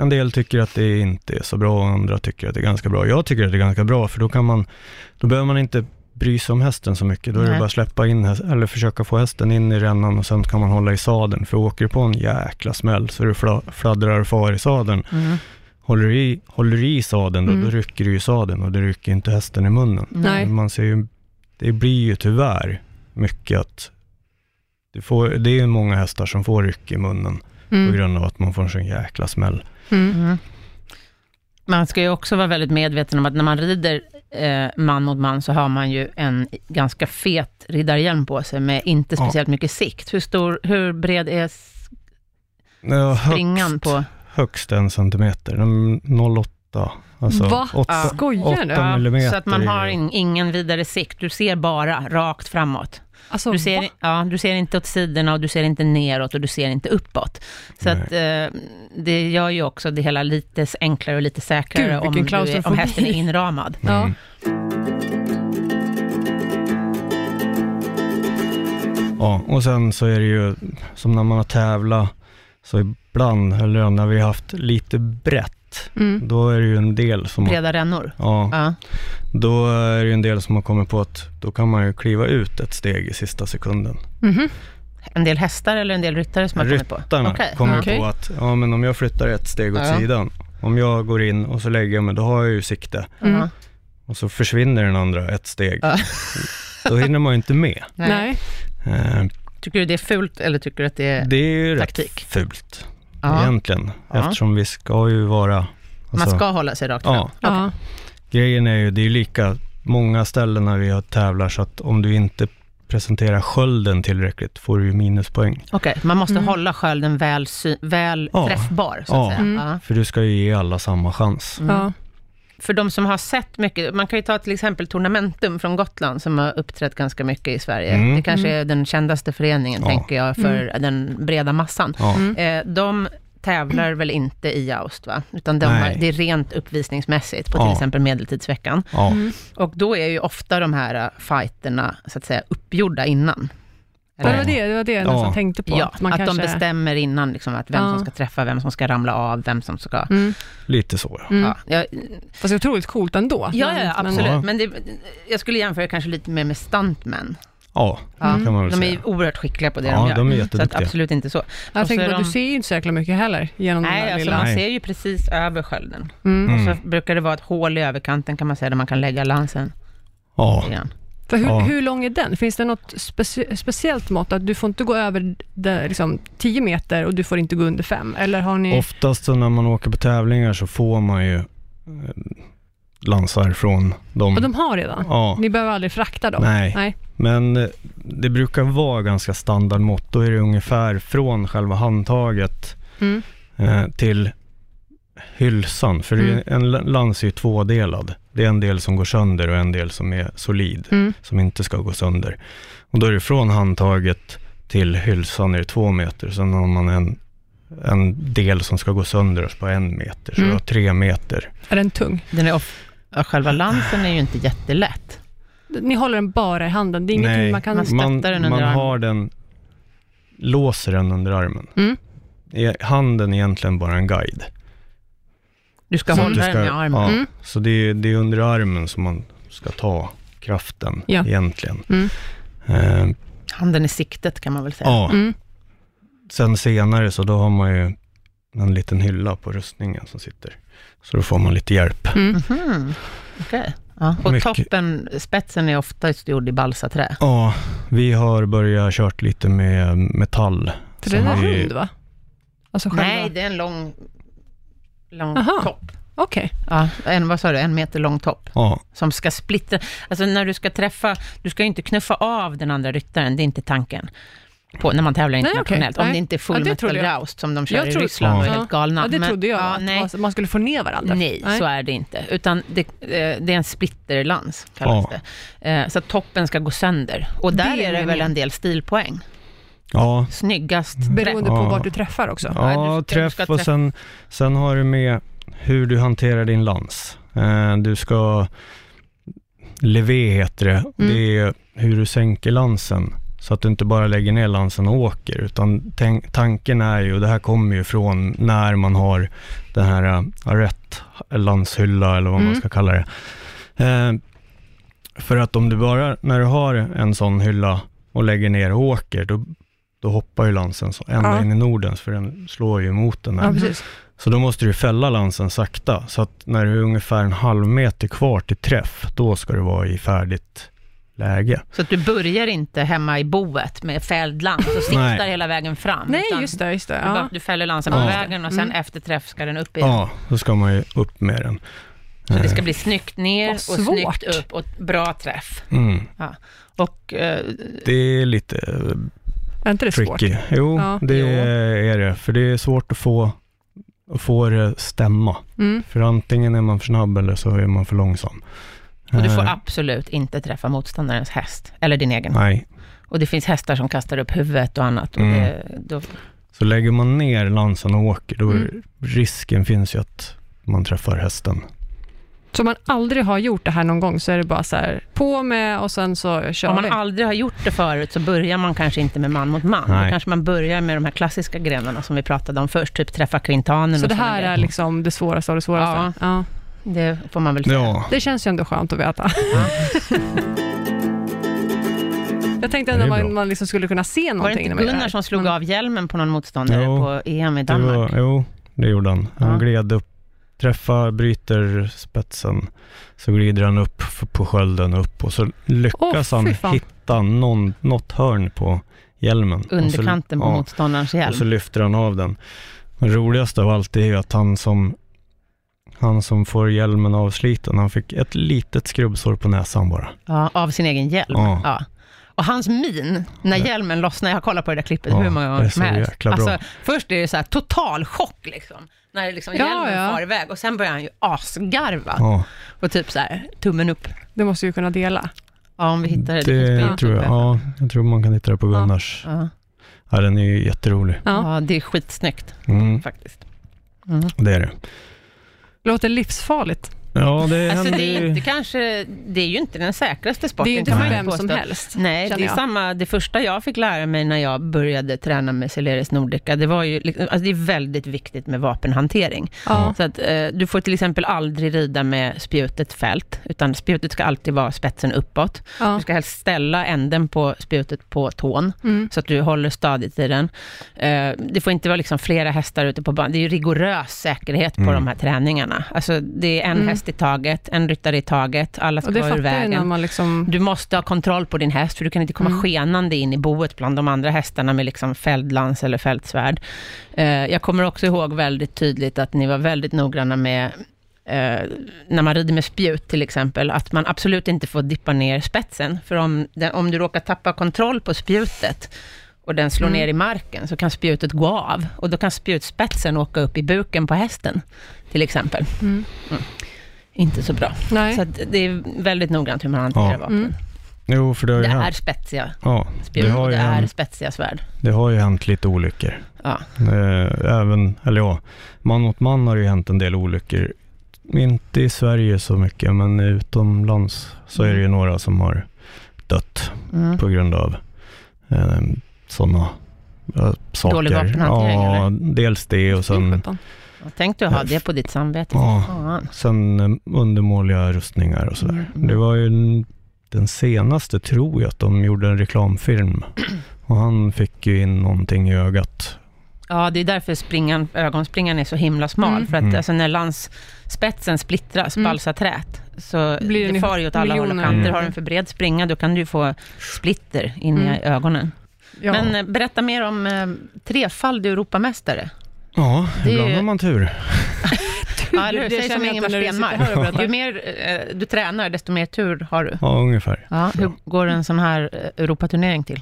C: En del tycker att det inte är så bra och andra tycker att det är ganska bra. Jag tycker att det är ganska bra för då kan man, då behöver man inte bry sig om hästen så mycket. Då är det
A: Nej.
C: bara att släppa in hästen, eller försöka få hästen in i rännan och sen kan man hålla i sadeln. För åker du på en jäkla smäll så du fla- fladdrar och far i sadeln.
A: Mm.
C: Håller du i, håller du i sadeln då,
B: Mm.
C: då rycker du i sadeln och det rycker inte hästen i munnen.
B: Nej.
C: Man ser ju, det blir ju tyvärr mycket att det, får, det är ju många hästar som får ryck i munnen på
B: Mm.
C: grund av att man får en sån jäkla smäll.
B: Mm.
A: Mm. Man ska ju också vara väldigt medveten om att när man rider eh, man mot man så har man ju en ganska fet riddarhjälm på sig med inte
C: Ja.
A: speciellt mycket sikt. Hur, stor, hur bred är s-
C: Ja,
A: springan
C: högst,
A: på?
C: högst en centimeter, en 0,8.
B: Va?
C: Alltså åtta
B: Skojar du?
C: åtta millimeter.
A: så att man har in, ingen vidare sikt. Du ser bara rakt framåt.
B: Alltså,
A: Du ser,
B: va?
A: ja, du ser inte åt sidorna och du ser inte neråt och du ser inte uppåt. Så
C: Nej.
A: att, eh, det gör ju också det hela lite enklare och lite säkrare
B: Gud, vilken
A: om, du är, om
B: klaustrofobi.
A: hästen är inramad.
C: Mm.
B: Ja.
C: Ja, och sen så är det ju som när man har tävlat, så ibland, eller när vi har haft lite brett,
B: Mm.
C: då är det ju en del som har,
A: Breda rännor.
C: ja,
A: Ja.
C: då är det ju en del som har kommit på att då kan man ju kliva ut ett steg i sista sekunden.
B: Mhm.
A: En del hästar eller en del ryttare som har kommit på?
C: Ryttarna
A: Okej.
C: kommer
B: Okej.
C: på att, ja men om jag flyttar ett steg åt
A: Ja.
C: sidan, om jag går in och så lägger jag mig, då har jag ju sikte.
A: Ja.
B: Mm.
C: Och så försvinner den andra ett steg.
A: Ja.
C: Då hinner man ju inte med.
A: Nej.
B: Nej.
C: Eh,
A: Tycker du det är fult eller tycker du att det är...
C: Det är ju rätt
A: Taktik.
C: fult
A: Ja.
C: egentligen.
A: Ja.
C: Eftersom vi ska ju vara...
A: Man
C: alltså,
A: ska hålla sig rakt fram.
C: Ja,
B: Ja.
C: grejen är ju, det är ju lika många ställen när vi har tävlar så att om du inte presenterar skölden tillräckligt får du ju minuspoäng.
A: Okej, man måste
B: Mm.
A: hålla skölden väl, sy- väl
C: Ja.
A: träffbar, så att
C: Ja.
A: säga.
B: Mm.
A: Ja.
C: För du ska ju ge alla samma chans.
A: Mm.
B: Ja.
A: För de som har sett mycket, man kan ju ta till exempel Tornamentum från Gotland, som har uppträtt ganska mycket i Sverige.
C: Mm.
A: Det kanske
B: Mm.
A: är den kändaste föreningen,
C: Ja.
A: tänker jag, för den breda massan.
C: Ja.
B: Mm.
A: Eh, de tävlar väl inte i joust, va? Utan de
C: Nej.
A: har, det är rent uppvisningsmässigt, på till
C: Ja.
A: exempel Medeltidsveckan.
C: Ja.
B: Mm.
A: eh, Och då är ju ofta de här ä, fighterna, så att säga, uppgjorda innan.
B: Ja, det
A: Eller?
B: var det, det, var det jag
C: Ja.
B: nästan tänkte på.
A: Ja, att,
B: man
A: de
B: kanske-
A: bestämmer innan liksom, att vem
B: Ja.
A: som ska träffa, vem som ska ramla av, vem som ska...
B: Mm,
C: Lite så. ja.
B: mm.
A: Ja, jag,
B: Fast det är otroligt coolt ändå.
A: ja,
B: Men-
A: ja,
B: men-
A: absolut.
C: Ja.
A: Men det, jag skulle jämföra kanske lite mer med stuntmen.
C: Ja,
A: Ja,
C: det kan man väl
A: de är
C: säga.
A: ju oerhört skickliga på det
C: Ja,
A: de gör.
C: de är
A: så att
C: jätteduktiga. Mm,
A: absolut inte så.
B: Jag
A: Och så
B: tänker
A: är
B: på att du
A: Alltså, de-
B: ser ju inte så jäkla mycket heller genom den
A: Nej,
B: där
A: alltså
B: lilla.
A: man
C: Nej.
A: ser ju precis över skölden.
B: Mm.
C: Mm.
A: Så brukar det vara ett hål i överkanten kan man säga, där man kan lägga lansen
C: Ja,
A: igen.
B: För hur,
C: Ja.
B: hur lång är den? Finns det något speci- speciellt mått? Att du får inte gå över det, liksom, 10 meter och du får inte gå under 5? Eller har ni...
C: oftast så när man åker på tävlingar så får man ju eh, lansar från dem.
B: Och de har redan?
C: Ja,
B: Ni behöver aldrig frakta dem?
C: nej.
B: Nej.
C: Men eh, det brukar vara ganska standardmått. Då är det ungefär från själva handtaget
B: Mm.
C: eh, till hylsan. För det är-
B: Mm.
C: en la- lans är ju tvådelad. Det är en del som går sönder och en del som är solid,
B: Mm.
C: som inte ska gå sönder. Och då är det från handtaget till hylsan är det två meter. Sen har man en, en del som ska gå sönder på en meter. Så
B: Mm.
C: du har tre meter.
B: Är den tung?
A: Den är off- ja, själva lansen är ju inte jättelätt.
B: Ni håller den bara i handen? Det är ingenting
C: Nej.
B: man kan...
A: Man stöttar
C: Man,
A: den under
C: man
A: armen.
C: har den, låser den under armen.
B: Mm.
C: Är Handen är egentligen bara en guide.
A: Du ska
B: Så
A: hålla
C: du
A: den i armen.
C: Ja,
B: Mm.
C: Så det är, det är under armen som man ska ta kraften
B: Ja.
C: egentligen.
B: Mm.
C: Eh,
A: Handen i siktet kan man väl säga.
C: ja,
B: Mm.
C: sen senare så då har man ju en liten hylla på rustningen som sitter. Så då får man lite hjälp.
B: Mm.
A: Mhm. Okej. Ja. Och
C: Mycket.
A: toppen, spetsen är oftast gjord i balsaträ.
C: Ja, vi har börjat kört lite med metall.
B: För den är
C: Som vi-
B: rund va? Alltså själva...
A: Nej, det är en lång, lång
B: Aha.
A: topp.
B: Okej.
A: Ja, en, vad sa du, en meter lång topp
C: Ja,
A: som ska splittra. Alltså när du ska träffa, du ska ju inte knuffa av den andra ryttaren, det är inte tanken. På, när man tävlar
B: okej.
A: internationellt, om
B: Nej.
A: det inte är
B: Ja,
A: full
B: det
A: metal
B: trodde jag.
A: roust som de kör
B: Jag
A: i
B: trodde-
A: Ryssland och är
B: Ja.
A: helt galna.
B: Ja, det
A: Men-
B: trodde jag.
A: Ja,
B: att
A: nej,
B: man- Man skulle få ner varandra.
A: Nej, så är det inte. Utan det, eh, det är en splitterlans, kallas
C: Ja.
A: det. Eh, Så att toppen ska gå sönder. Och där
B: Det
A: är det
B: menar
A: väl
B: jag.
A: en del stilpoäng.
C: ja,
A: Snyggast träff.
B: Beroende på
C: Ja.
B: vart du träffar också.
A: Ja,
C: ja
A: du ska- du
C: träff
A: ska
C: och
A: träff-
C: sen, sen har du med hur du hanterar din lans. Eh, du ska, levé heter det,
B: Mm.
C: det är hur du sänker lansen. Så att du inte bara lägger ner lansen och åker, utan tänk, tanken är ju, och det här kommer ju från när man har den här eh, rätt lanshylla eller vad man
B: Mm.
C: ska kalla det. Eh, för att om du bara, när du har en sån hylla och lägger ner och åker, då, då hoppar ju lansen så ända
B: Ja.
C: in i Nordens, för den slår ju mot den
B: Ja,
C: här.
B: precis.
A: Mm.
C: Så då måste du fälla lansen sakta, så att när du är ungefär en halv meter kvar till träff, då ska du vara i färdigt läge.
A: Så att du börjar inte hemma i boet med fälld lans och siktar
C: Nej.
A: hela vägen fram.
B: Nej,
A: utan
B: just det. Just det.
A: du
B: Ja. Mm.
A: bara- Du fäller lansen på
C: Ja.
A: vägen och sen efter träff ska den upp igen.
C: Ja, då ska man ju upp med den. Eh,
A: Så det ska bli snyggt ner
B: Vad
A: och
B: svårt.
A: snyggt upp och bra träff.
C: Mm.
A: Och eh,
C: Det är lite eh,
B: Är inte det svårt?
C: tricky. Jo,
B: Ja.
C: det
B: Jo.
C: är det, för det är svårt att få, att få det stämma.
B: Mm.
C: För antingen är man för snabb eller så är man för långsam.
A: och du får
C: Eh,
A: absolut inte träffa motståndarens häst, eller din egen.
C: Nej,
A: Och det finns hästar som kastar upp huvudet och annat. Och
C: Mm.
A: det, då,
C: Så lägger man ner lansen och åker, då
B: Mm.
C: risken finns ju att man träffar hästen.
B: Så om man aldrig har gjort det här någon gång så är det bara så här, på med och sen så kör
A: om man
B: vi.
A: aldrig har gjort det förut så börjar man kanske inte med man mot man. Då
C: Nej.
A: kanske man börjar med de här klassiska grenarna som vi pratade om först, typ träffa kvintanen
B: Så
A: och
B: det
A: såna
B: här
A: grejer.
B: är liksom det svåraste av det svåraste? Ja.
A: Det får man väl säga.
C: Ja,
B: Det känns ju ändå skönt att veta. Jag tänkte ändå
C: Mm. Det är bra.
B: man, man liksom skulle kunna se
A: Var det
B: någonting.
A: inte
B: när man gör det
A: Gunnar
B: här.
A: som slog
B: Men-
A: av hjälmen på någon motståndare
C: Mm. Jo,
A: på EM i
C: det
A: Danmark?
C: var, jo, det gjorde han. Han
A: Ja.
C: gled upp, träffar, bryter spetsen, så glider han upp f- på skölden och upp och så lyckas
B: Åh,
C: han
B: fy fan.
C: hitta någon, något hörn på hjälmen.
A: Underkanten
C: och
A: på
C: så,
A: motståndarens
C: ja,
A: hjälm.
C: och så lyfter han av den. Det roligaste av allt är ju att han som han som får hjälmen avsliten, han fick ett litet skrubbsår på näsan bara.
A: Ja, av sin egen hjälm.
C: Ja.
A: Ja. Och hans min när hjälmen lossnar, jag har kollat på det där klippet
C: Ja,
A: hur många
C: det
A: gånger
C: är
A: som
C: så
A: helst. Alltså,
C: jäkla bra.
A: först är det så här total chock liksom, när liksom
B: Ja,
A: hjälmen
B: ja.
A: far iväg och sen börjar han ju asgarva
C: Ja.
A: och typ så här tummen upp.
B: Det måste ju kunna dela.
A: Ja, om vi hittar det. finns på
C: Det
A: YouTube.
C: tror jag. Ja, jag tror man kan hitta det på Gunnars. Ja.
A: Ja.
C: den är ju jätterolig.
B: Ja.
A: ja, det är skitsnyggt
C: Mm,
A: faktiskt.
C: det är det.
B: Låter livsfarligt.
C: Ja, det
A: Alltså
C: händer
A: det är,
C: ju.
A: inte, kanske, det är ju inte den säkraste sporten.
B: Det är ju inte
A: kan
B: för
A: man
B: vem
A: påstå.
B: som helst.
A: Nej,
B: känner
A: det är
B: jag.
A: samma. Det första jag fick lära mig när jag började träna med Celeris Nordica, det var ju, liksom- alltså det är väldigt viktigt med vapenhantering.
B: Ja.
A: Så att eh, du får till exempel aldrig rida med spjutet fält, utan spjutet ska alltid vara spetsen uppåt. Du
B: Ja.
A: ska helst ställa änden på spjutet på tån,
B: Mm.
A: så att du håller stadigt i den. Eh, det får inte vara liksom flera hästar ute på banan. Det är ju rigorös säkerhet på
C: Mm.
A: de här träningarna. Alltså, det är en
B: Mm.
A: häst i taget, en ryttare i taget, alla ska
B: Och det
A: vara ur
B: fattar jag när
A: vägen.
B: man liksom...
A: Du måste ha kontroll på din häst, för du kan inte komma
B: Mm.
A: skenande in i boet bland de andra hästarna med liksom fältlans eller fältsvärd. Eh, jag kommer också ihåg väldigt tydligt att ni var väldigt noggranna med eh, när man rider med spjut till exempel, att man absolut inte får dippa ner spetsen, för om, den, om du råkar tappa kontroll på spjutet och den slår
B: Mm.
A: ner i marken, så kan spjutet gå av och då kan spjutspetsen åka upp i buken på hästen, till exempel.
B: Mm.
A: Inte så bra.
B: Nej.
A: Så att det är väldigt noggrant hur man hanterar
C: Ja.
A: vapen.
B: Mm.
C: Jo, för det har ju
A: Det är
C: hänt.
A: spetsiga
C: Ja,
A: spjut
C: det har
A: och
C: ju
A: det är
C: hänt,
A: spetsiga svärd.
C: det har ju hänt lite olyckor.
A: Ja.
C: Eh, Även, eller ja, man mot man har det ju hänt en del olyckor. Inte i Sverige så mycket, men utomlands så är det ju några som har dött
A: Mm.
C: på grund av eh, sådana eh, saker.
A: Dålig vapenhantering, Mm.
C: Ja, dels det och sen,
B: Sjutton.
A: Tänk du
B: Äh,
A: ha det på ditt samvete.
C: Ja.
A: Fan.
C: sen eh, undermåliga rustningar och sådär.
A: Mm.
C: Det var ju n- den senaste, tror jag, att de gjorde en reklamfilm. Och han fick ju in någonting i ögat.
A: Ja, det är därför springan, ögonspringan är så himla smal.
B: Mm.
A: För att
C: Mm.
A: alltså, när lansspetsen splittras,
B: Mm.
A: balsaträt, så
B: Blir
A: det
B: den
A: far ju åt alla håll och
B: miljoner.
A: kanter.
C: Mm.
A: Har du en för bred springa, då kan du ju få splitter in i
B: Mm.
A: ögonen.
B: Ja.
A: Men eh, berätta mer om eh, trefaldig Europamästare.
C: Ja,
A: Det är
C: ibland
A: ju-
C: har man tur.
A: Ja, eller hur?
B: det
A: Säg som
B: känner jag
A: Ingemar
B: inte när du sitter här och
A: Stenmark.
B: berättar.
A: Ju mer eh, du tränar, desto mer tur har du.
C: Ja, ungefär.
A: Ja, hur går en sån här eh, Europaturnering till?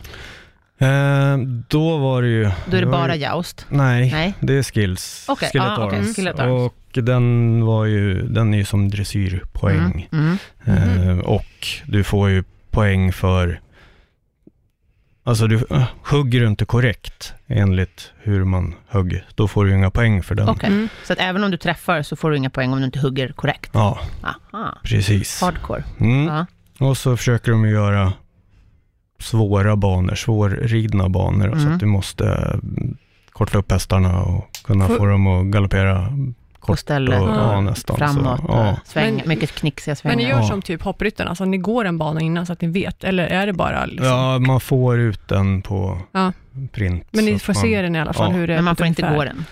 C: Eh, då var det ju...
A: Då är det
C: var
A: bara
C: ju,
A: jaust.
C: Nej,
A: Nej.
C: det är skills.
A: Okej,
C: Skillet
A: ah, okej,
C: arms.
A: skillet arms.
C: Och den, var ju, den är ju som dressyrpoäng.
A: Mm. Mm.
B: Mhm.
C: Eh, och du får ju poäng för... Alltså, du, eh, hugger du inte korrekt enligt hur man högg, då får du ju inga poäng för den.
A: Okej.
B: Mm.
A: Så att även om du träffar så får du inga poäng om du inte hugger korrekt.
C: Ja,
A: Aha.
C: precis.
A: Hardcore.
C: Mm.
A: Ja.
C: Och så försöker de ju göra svåra banor, svårridna banor, så
A: Mm.
C: att du måste eh, korta upp hästarna och kunna
B: Får-
C: få dem att galoppera
A: På
C: Kort
A: stället.
C: och, ja,
B: Ja.
C: nästan.
A: Framåt. eh,
C: Så,
B: eh,
C: ja.
A: Sväng,
B: Men-
A: mycket knixiga
B: Men
A: svängar.
B: ni gör
C: Ja.
B: som typ hoppryttarna, alltså ni går en bana innan så att ni vet, eller är det bara liksom...
C: ja, man får ut den på
B: Ja.
C: print.
B: Men
C: så
B: ni
C: att
B: får
C: man,
B: se den i alla fall,
C: ja.
B: hur det är
A: Men man
B: på
A: får inte
B: ungefär.
A: gå den.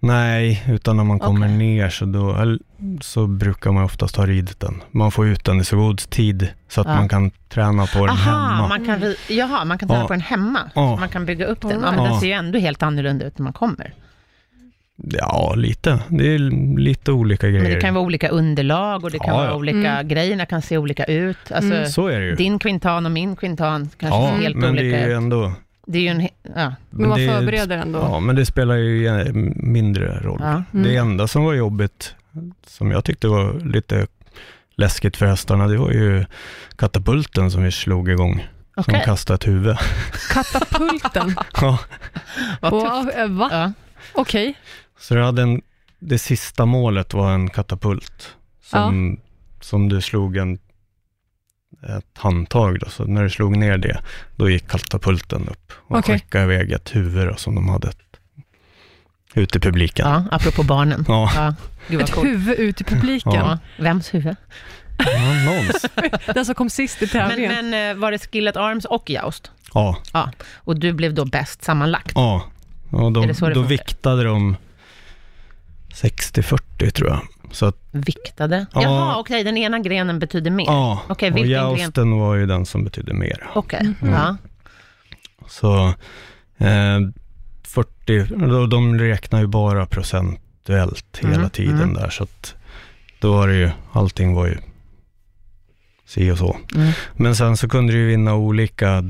C: Nej, utan när man
A: Okej.
C: kommer ner så, då, eller, så brukar man oftast ha ridit den. Man får ut den i så god tid så att
A: Ja.
C: man kan träna på den
A: Aha,
C: hemma.
A: man kan, ri- jaha, man kan träna
C: Ja.
A: på den hemma.
C: Ja.
A: Man kan bygga upp den. Ja,
B: Alright.
A: men den
C: Ja.
A: ser ju ändå helt annorlunda ut när man kommer.
C: Ja, lite. Det är lite olika grejer.
A: Men det kan ju vara olika underlag och det kan
C: Ja,
A: vara
C: ja.
A: olika
B: Mm.
A: grejerna kan se olika ut. Alltså,
B: Mm.
C: Så är det ju.
A: Din kvintan och min kvintan kanske
C: ja,
A: ser helt
C: men
A: olika
C: det är ju
A: ut.
C: ändå...
A: Det är ju en... he- Ja.
B: Men man
C: det-
B: förbereder ändå.
C: Ja, men det spelar ju eh, mindre roll.
A: Ja.
B: Mm.
C: Det enda som var jobbigt, som jag tyckte var lite läskigt för hästarna, det var ju katapulten som vi slog igång, som
A: Okej,
C: kastade ett huvud.
B: Katapulten.
C: Ja,
A: vad tufft.
B: wow, eh, va?
A: Ja.
B: Okej.
C: så det, hade en, det sista målet var en katapult som, som du slog en, ett handtag. Då. Så när du slog ner det, då gick katapulten upp och
B: Okej.
C: skickade iväg ett huvud då, som de hade ett, ute i publiken.
A: Ja, apropå barnen.
C: Ja,
A: Ja, gud vad
B: Ett
A: coolt.
B: huvud ut i publiken.
A: Ja, vems huvud?
C: ja någons.
B: Den som kom sist i
A: Men,
B: tävlingen.
A: men eh, var det Skillet Arms och Joust?
C: Ja.
A: Och du blev då bäst sammanlagt?
C: Ja, och
A: Är
C: de,
A: det så det
C: då
A: funkar?
C: viktade de 60-40 tror jag. Så att,
A: Viktade?
C: Ja.
A: Jaha, okej, den ena grenen betyder mer.
C: ja,
A: Okej,
C: och
A: vilken
C: jousten var ju den som betydde mer.
A: Okej,
B: Mhm.
A: ja.
C: Så eh, 40, då- de räknar ju bara procentuellt hela
A: Mm,
C: tiden
A: mm.
C: där, så att då var det ju, allting var ju si och så.
A: Mm.
C: Men sen så kunde du ju vinna olika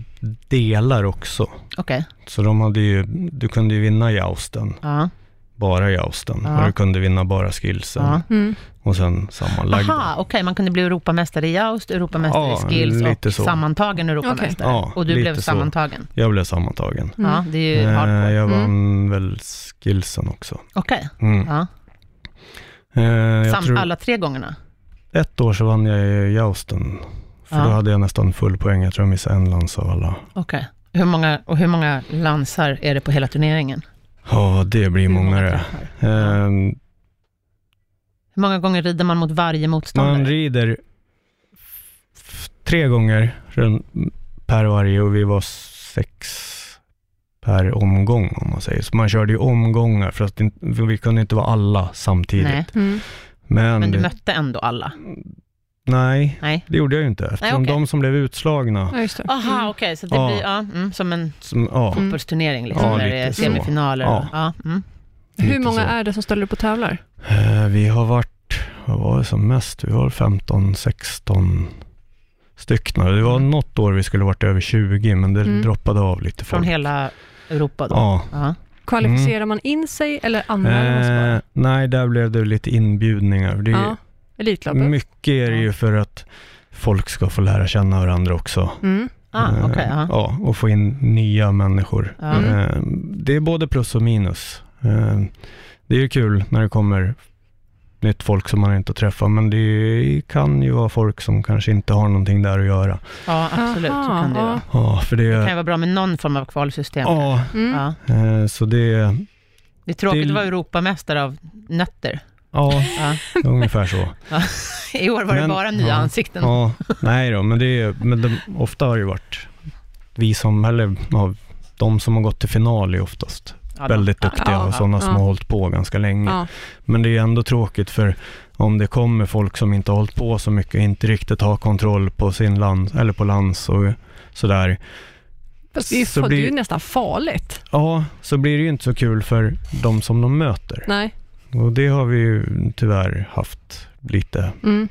C: delar också.
A: Okej,
C: Så de hade ju, du kunde ju vinna jousten,
A: ja.
C: bara jousten,
A: Ja.
C: och du kunde vinna bara skillsen.
A: ja.
B: Mm.
C: Och sen sammanlagda.
A: Aha, okej, man kunde bli Europamästare i Joust, Europamästare
C: Ja,
A: i Skills
C: lite
A: och
C: så.
A: sammantagen Europamästare.
C: Okej. Ja,
A: och du
C: lite
A: blev
C: så.
A: sammantagen.
C: Jag blev sammantagen.
B: Mm.
A: Ja, det är ju
C: Eh,
A: hardcore.
C: jag
B: Mm.
C: vann väl skillsen också.
A: Okej,
C: Mm.
A: ja.
C: Eh, jag
A: Sam-
C: tror,
A: alla tre gångerna?
C: Ett år så vann jag i jousten. För
A: Ja.
C: då hade jag nästan full poäng. Jag tror jag missade en lans av alla.
A: Okej. Hur många, och hur många lansar är det på hela turneringen?
C: Ja, det blir
A: Hur
C: många det.
A: träffar?
C: Ehm,
A: Hur många gånger rider man mot varje motståndare?
C: Man rider f- tre gånger run- per varje och vi var sex per omgång om man säger. Så man körde ju omgångar för att inte- för vi kunde inte vara alla samtidigt.
A: Nej,
B: Mm.
C: Men,
A: men du
C: det-
A: mötte ändå alla?
C: nej,
A: Nej.
C: det gjorde jag ju inte. Eftersom
A: okej.
C: de som blev utslagna,
B: Ja, just det.
A: Aha,
B: Mm.
A: okej, så det
C: Ja.
A: blir ja, mm, som en
C: som, ja,
B: Mm.
A: fotbollsturnering, liksom,
C: Ja,
A: där det
C: lite
A: är
C: så.
A: semifinaler.
C: Ja.
A: Ja, mm.
B: Hur
C: lite
B: många
C: så.
B: är det som ställer upp och tävlar?
C: Eh, Vi har varit, vad var det som mest? Vi var 15, 16 stycken. Det var
A: Mm.
C: något år vi skulle varit över 20, men det
B: Mm.
C: droppade av lite folk.
A: Från hela Europa då?
C: Ja.
A: Ja.
B: Kvalificerar man in sig eller
A: Mm,
B: anmäler man sig bara?
C: Mm. Eh, nej, där blev det lite inbjudningar. Det är
B: Ja, Elitloppet?
C: mycket är det ju för att folk ska få lära känna varandra också.
B: Mm.
A: Ah,
C: Eh,
A: okej, ja.
C: ja, och få in nya människor.
A: Ja.
C: Eh, det är både plus och minus. Eh, det är ju kul när det kommer nytt folk som man inte har träffat, men det kan ju vara folk som kanske inte har någonting där att göra.
A: ja, absolut, så
B: Aha,
A: kan det ju
B: ja.
A: vara.
C: Ja, för
A: Det kan
C: det...
A: ju vara bra med någon form av kvalsystem.
C: Ja,
B: Mm.
A: Ja.
C: eh, så det...
A: Det är tråkigt
C: Det-
A: att vara Europamästare av nötter.
C: Ja,
A: Ja.
C: ungefär så.
A: I år var det
C: Men-
A: bara nya
C: ja.
A: ansikten.
C: Ja, nej då, men, det är, men de, ofta har det ju varit vi som, eller ja, de som har gått till final är oftast
A: Ja, då.
C: väldigt duktiga
B: ja,
C: och sådana som
B: ja.
C: har hållit på ganska länge.
B: Ja.
C: Men det är ändå tråkigt för om det kommer folk som inte har hållit på så mycket, inte riktigt har kontroll på sin land, eller på lands och sådär.
B: Fast det är, ju-
C: Så
B: det är ju
C: blir-
B: nästan farligt.
C: Ja, så blir det ju inte så kul för de som de möter.
B: Nej.
C: Och det har vi ju tyvärr haft lite
B: Mm.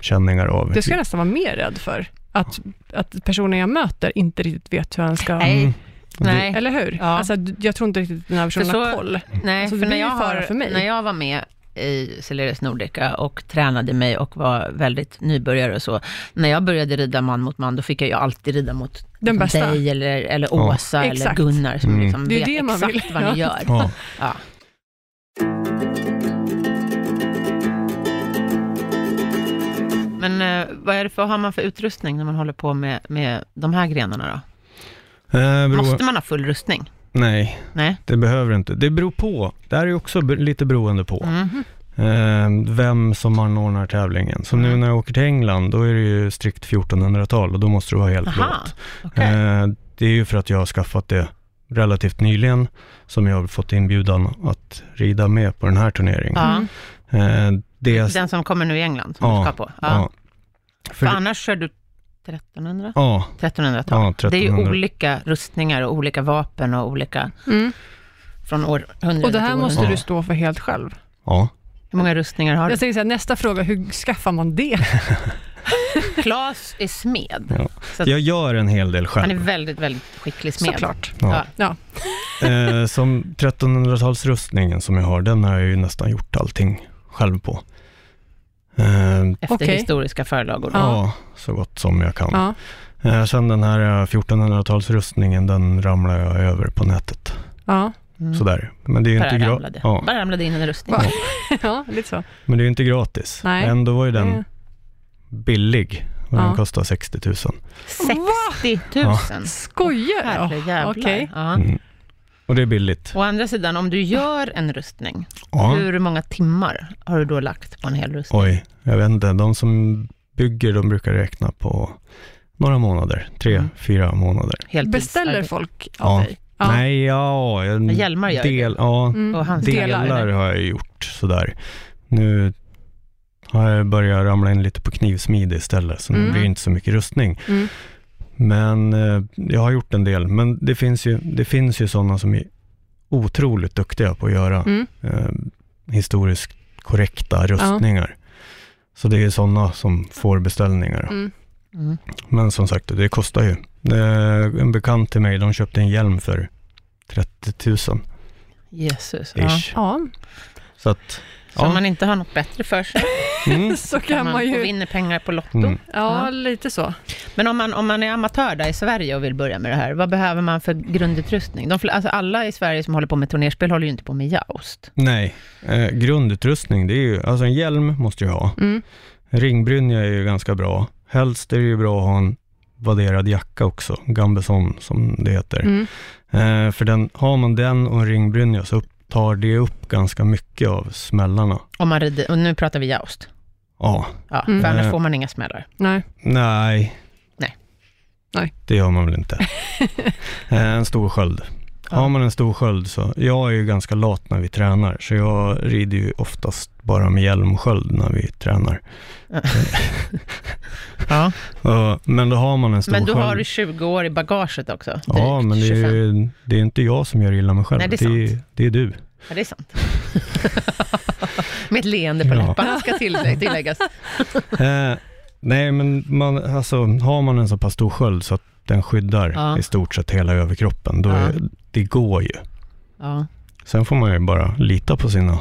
C: känningar av.
B: Det ska jag nästan vara mer rädd för. Att, att personen jag möter inte riktigt vet hur han ska...
A: Nej.
C: Mm. Det-
A: Nej.
B: Eller hur?
A: Ja.
B: Alltså, jag tror inte riktigt den här personen
A: För så-
B: har koll.
A: Nej,
B: Alltså, det
A: för, när
B: blir
A: jag
B: ju fara
A: har,
B: för mig.
A: när jag var med i Celeris Nordica och tränade mig och var väldigt nybörjare och så. När jag började rida man mot man, då fick jag ju alltid rida mot liksom
B: Den bästa.
A: dig eller, eller
C: Ja.
A: Åsa eller
B: Exakt.
A: Gunnar som
C: Mm.
A: liksom
B: Det är
A: vet
B: det man
A: exakt
B: vill.
A: vad ni gör.
C: Ja.
A: Ja. Men eh, vad, är det för, vad har man för utrustning när man håller på med, med de här grenarna då?
C: Eh, bero-
A: Måste man ha full rustning?
C: Nej,
A: Nej?
C: Det behöver det inte. Det beror på. Det här är också be- lite beroende på
A: Mm.
C: eh, vem som anordnar tävlingen. Som nu
A: Mm.
C: när jag åker till England, då är det ju strikt 1400-tal och då måste du vara helt
A: Aha,
C: blått.
A: okej.
C: Eh, det är ju för att jag har skaffat det relativt nyligen som jag har fått inbjudan att rida med på den här turneringen.
A: Ja.
B: Mm.
C: Eh, det är,
A: Den som kommer nu i England, som
C: Ja,
A: du ska på. Ja.
C: ja.
A: För
C: För,
A: annars kör du 1300?
C: ja,
A: 1300-tal.
C: ja,
A: Det är ju
C: 1300.
A: olika rustningar och olika vapen och olika
B: Mm.
A: från århundrade
B: Och det här
A: till
B: måste
A: århundrade.
B: du stå för helt själv.
C: Ja.
A: Hur många rustningar har
B: Jag
A: du?
B: tänker säga, nästa fråga, hur skaffar man det?
A: Klas är smed.
C: Ja.
A: Så att
C: Jag gör en hel del
A: han är
C: själv.
A: väldigt, väldigt skicklig smed.
B: Såklart.
A: Ja.
B: Ja.
C: Eh, som 1300-talsrustningen som jag har, den har jag ju nästan gjort allting själv på. Eh,
A: Efter
B: Okej.
A: historiska förlagor.
B: Ja.
C: ja, så gott som jag kan.
B: Ja.
C: Eh, sen den här eh, 1400-talsrustningen, den ramlar jag över på nätet.
B: Ja.
A: Mm.
C: Sådär. Men det är ju
A: Bara
C: inte, gra-
A: ramlade.
C: ja,
A: Bara ramlade in en rustning.
B: Va? ja, lite så.
C: men det är ju inte gratis.
B: Nej.
C: Ändå var ju den
B: Mm.
C: billig och
B: Ja.
C: den kostade 60 000.
A: 60 000.
C: Ja.
B: Skojar jag?
A: Herrejävlar.
B: Okej.
A: Ja.
C: Mm. Och det är billigt.
A: Å andra sidan, om du gör en rustning,
C: Ja.
A: hur många timmar har du då lagt på en hel rustning?
C: Oj, jag vet inte. De som bygger, de brukar räkna på några månader. Tre,
A: Mm.
C: fyra månader.
A: Heltids-
B: Beställer
A: arbete.
B: folk av
C: Ja.
B: dig? Ja.
C: Nej, ja. En
A: hjälmar gör ju
C: del, ja,
B: Mm.
A: Och hans
C: delar
A: delar.
C: har jag gjort sådär. Nu har jag börjat ramla in lite på knivsmide istället, så
B: Mm.
C: nu blir det inte så mycket rustning.
B: Mm.
C: Men eh, jag har gjort en del, men det finns ju, det finns ju sådana som är otroligt duktiga på att göra
B: Mm.
C: eh, historiskt korrekta rustningar. Så det är sådana som får beställningar.
B: Mm.
A: Mm.
C: Men som sagt, det kostar ju. Eh, En bekant till mig, de köpte en hjälm för 30 000
A: Jesus. Ja.
C: ish.
B: Ja,
C: Så att,
A: Så om
C: ja.
A: man inte har något bättre för sig,
C: Mm.
B: så kan
A: kan
B: man
A: och
B: ju.
A: vinner pengar på Lotto.
C: Mm.
B: Ja,
A: Ja.
B: lite så.
A: Men om man, om man är amatör där i Sverige och vill börja med det här, vad behöver man för grundutrustning? De, fl- alltså alla i Sverige som håller på med turnerspel håller ju inte på med joust.
C: Nej, eh, grundutrustning, det är ju, alltså en hjälm måste du ha.
B: Mm.
C: Ringbrynja är ju ganska bra. Helst är det ju bra att ha en vadderad jacka också, gambeson som det heter.
B: Mm.
C: Eh, för den, har man den och en ringbrynja så upp, tar det upp ganska mycket av smällarna.
A: Om man rider, och nu pratar vi joust.
C: Ja,
A: Ja,
B: Mm.
A: För annars
C: Eh.
A: får man inga smällar.
B: Nej.
C: nej.
A: Nej.
B: Nej.
C: Det gör man väl inte. eh, en stor sköld.
A: Ja.
C: Har man en stor sköld så, jag är ju ganska lat när vi tränar, så jag rider ju oftast bara med hjälm och sköld när vi tränar.
A: Ja.
C: Eh, men då har man en stor
A: Men då
C: sköld.
A: har du 20 år i bagaget också. Drygt
C: Ja, men det
A: 25.
C: är, ju, det är inte jag som gör illa mig själv.
A: Nej, det är
C: det, är, det är du.
A: Ja, det är sant. Med ett leende på
C: Ja.
A: läpparna ska till- tilläggas.
C: Eh, nej, men man, alltså, har man en så pass stor sköld så att den skyddar
A: Ja.
C: i stort sett hela överkroppen, då
A: Ja.
C: är, det går ju.
A: Ja.
C: Sen får man ju bara lita på sina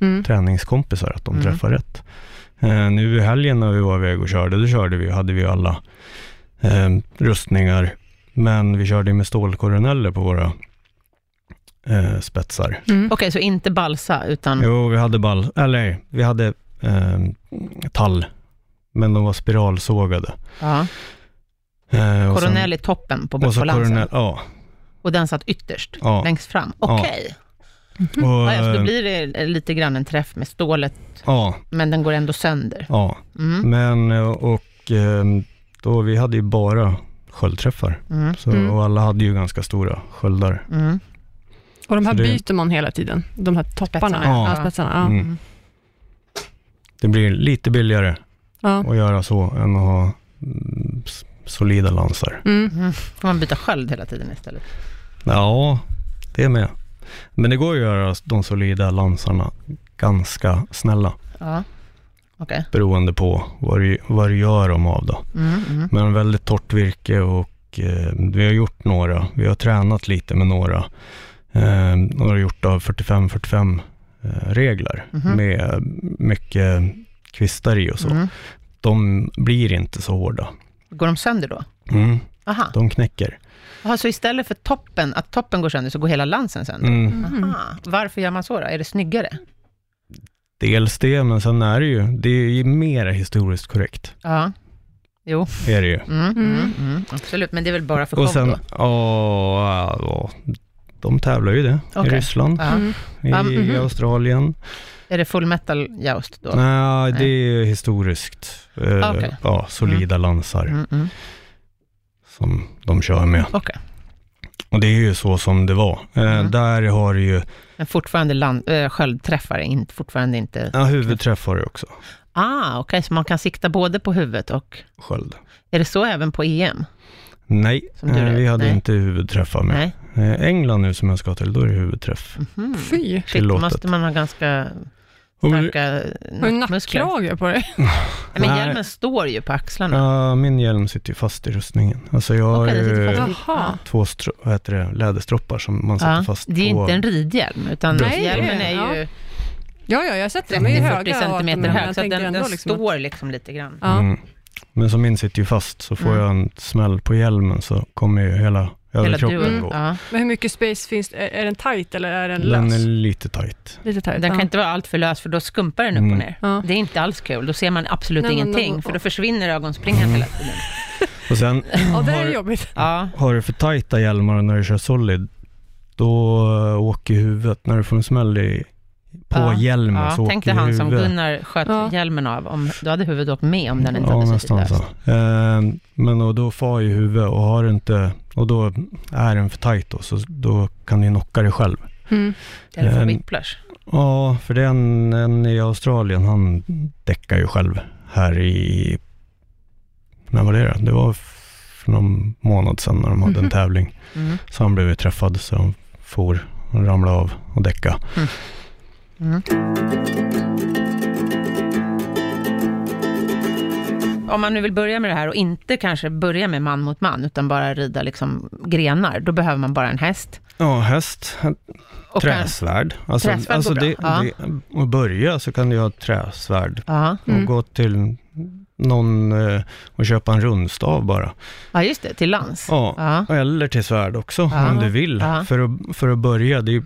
B: Mm.
C: träningskompisar, att de
A: Mm.
C: träffar rätt. Eh, nu i helgen när vi var iväg och körde, då körde vi, hade vi ju alla eh, rustningar, men vi körde ju med stålkoroneller på våra eh, spetsar.
B: Mm.
A: Okej, så inte balsa, utan...
C: Jo, vi hade ball, eller vi hade eh, tall, men de var spiralsågade.
A: Ja.
C: Eh, och sen-
A: Koronell i toppen på,
C: och så
A: på lansen.
C: koronell, ja.
A: Och den satt ytterst,
C: ja.
A: längst fram.
C: Ja.
A: Okej.
C: Och,
A: Ja, ja, så då
C: eh,
A: blir det eh, lite grann en träff med stålet,
C: ja,
A: men den går ändå sönder.
C: ja.
A: Mm.
C: Men, eh, och eh, då, vi hade ju bara sköldträffar.
A: Mm.
C: Så,
B: Mm.
C: Och alla hade ju ganska stora sköldar.
A: Mm.
B: Och de här
C: Så det-
B: byter man hela tiden, de här topparna.
A: Spetsarna,
B: Ja,
C: ja.
B: spetsarna. Ja.
C: Mm.
A: Mm.
C: Det blir lite billigare
B: Ja.
C: att göra så än att ha mm, s- solida lansar.
B: Mm.
A: Mm. Får man byta sköld hela tiden istället?
C: Ja, det med. Men det går att göra de solida lansarna ganska snälla.
A: Ja. Okej.
C: beroende på vad du, vad du gör dem av då.
A: Mm. Mm.
C: Men väldigt torrt virke och eh, vi har gjort några, vi har tränat lite med några. Eh, några gjort av 45-45 eh, regler
A: Mhm.
C: med mycket kvistar i och så.
A: Mm.
C: De blir inte så hårda.
A: Går de sönder då?
C: Mm,
A: Aha.
C: de knäcker.
A: Aha, så istället för toppen, att toppen går sönder, så går hela lansen sönder?
C: Mm.
B: Mhm.
A: Aha. Varför gör man så då? Är det snyggare?
C: Dels det, men sen är det ju, det är ju mera historiskt korrekt.
A: Ja. Jo.
C: Är det ju.
A: Mm. Mm.
B: Mm.
A: Mm. Absolut, men det är väl bara för
C: Och sen,
A: show då?
C: ja, ja, de tävlar ju det i
A: Okej.
C: Ryssland,
A: Ja.
B: Mm.
C: i
A: Ja, mhm.
C: Australien.
A: Är det full metal joust då?
C: Nej,
A: Nej. Ah,
C: det är historiskt. Eh,
A: Okej.
C: Ja, solida lansar
A: Mm, mm.
C: som de kör med.
A: Okej.
C: Och det är ju så som det var. Eh,
A: Mm.
C: Där har du ju,
A: Men fortfarande land, äh, sköldträffar, är inte, fortfarande inte...
C: ja, huvudträff har du också,
A: Ah, okej, så man kan sikta både på huvudet och...
C: sköld.
A: Är det så även på E EM?
C: Nej,
A: Som du
C: eh,
A: vet,
C: vi hade
A: nej.
C: inte huvudträffar med.
A: Nej.
C: Eh, England nu som jag ska till, då är det huvudträff.
A: Mhm.
B: Fy,
A: Shit, då
C: tillåtet.
A: måste man ha ganska
C: Och,
A: starka
B: har du
A: nackmuskler.
B: nackkrage på dig?
A: Nej, men
C: Nej.
A: hjälmen står ju på axlarna.
C: ja, min hjälm sitter ju fast i rustningen. Alltså jag har
A: Okej, den sitter
C: ju
A: fast.
B: Jaha.
C: två stro- vad heter det, läderstroppar som man sätter
A: Ja,
C: fast
A: det är
C: på.
A: inte en ridhjälm, utan
B: Nej,
A: hjälmen är
B: ja.
A: ju
B: Ja, ja, jag har sett det. De är ju
A: 30-40
B: höga. och att de-
A: centimeter
B: men
A: hög,
B: jag
A: så att
B: tänker
A: den,
B: ändå
A: den
B: liksom att-
A: står liksom lite grann.
B: Ja.
C: Mm. Men som min sitter ju fast, så får
A: Mm.
C: jag en smäll på hjälmen så kommer ju hela överkroppen
A: duon.
B: Mm.
C: gå.
A: Ja.
B: Men hur mycket space finns det? Är, är den tight eller är
A: Mm.
B: den
C: Den
B: lös?
C: är lite tight.
B: Lite tight.
A: Den
B: ja.
A: kan inte vara allt för lös, för då skumpar den upp och
C: Mm.
A: ner.
B: Ja.
A: Det är inte alls kul, då ser man absolut
B: Nej, men då-
A: ingenting, för då försvinner ögonspringan
C: Mm.
A: hela tiden.
C: Och sen
B: ja, det är
C: har-
B: jobbigt.
A: Ja,
C: har du för tajta hjälmar när du kör solid, då eh, åker huvudet, när du får en smäll i, på
A: Ja,
C: hjälmen
A: ja.
C: så åker
A: Tänk dig han som
C: huvudet.
A: Gunnar sköt
B: Ja.
A: hjälmen av, om då hade huvudet åkt med om den inte
C: Ja,
A: hade suttit
C: nästan
A: löst.
C: så. Eh, men och då far ju huvudet och har du inte, och då är den för tajt då, så då kan du knocka dig själv.
B: Mm.
A: Det hade fått
C: Eh,
A: whiplash.
C: Ja, för den, en i Australien, han däckar ju själv här i, när var det då? Det var för någon månad sedan när de hade
B: Mhm.
C: en tävling.
A: Mm.
C: Så han blev ju träffad så han for, han ramlade av och däckade.
A: Mm. Om man nu vill börja med det här och inte kanske börja med man mot man, utan bara rida liksom grenar, då behöver man bara en häst.
C: Ja, häst,
A: Och
C: träsvärd. Alltså,
A: Träsvärd går
C: alltså
A: bra.
C: det,
A: Ja.
C: det, att börja så kan du ha ett träsvärd
A: Ja.
B: Mm.
C: och gå till någon eh, och köpa en rundstav bara.
A: ja, just det, till lands.
C: Ja,
A: Ja.
C: eller till svärd också
A: Ja.
C: om du vill.
A: Ja.
C: För, att, för att börja, det är ju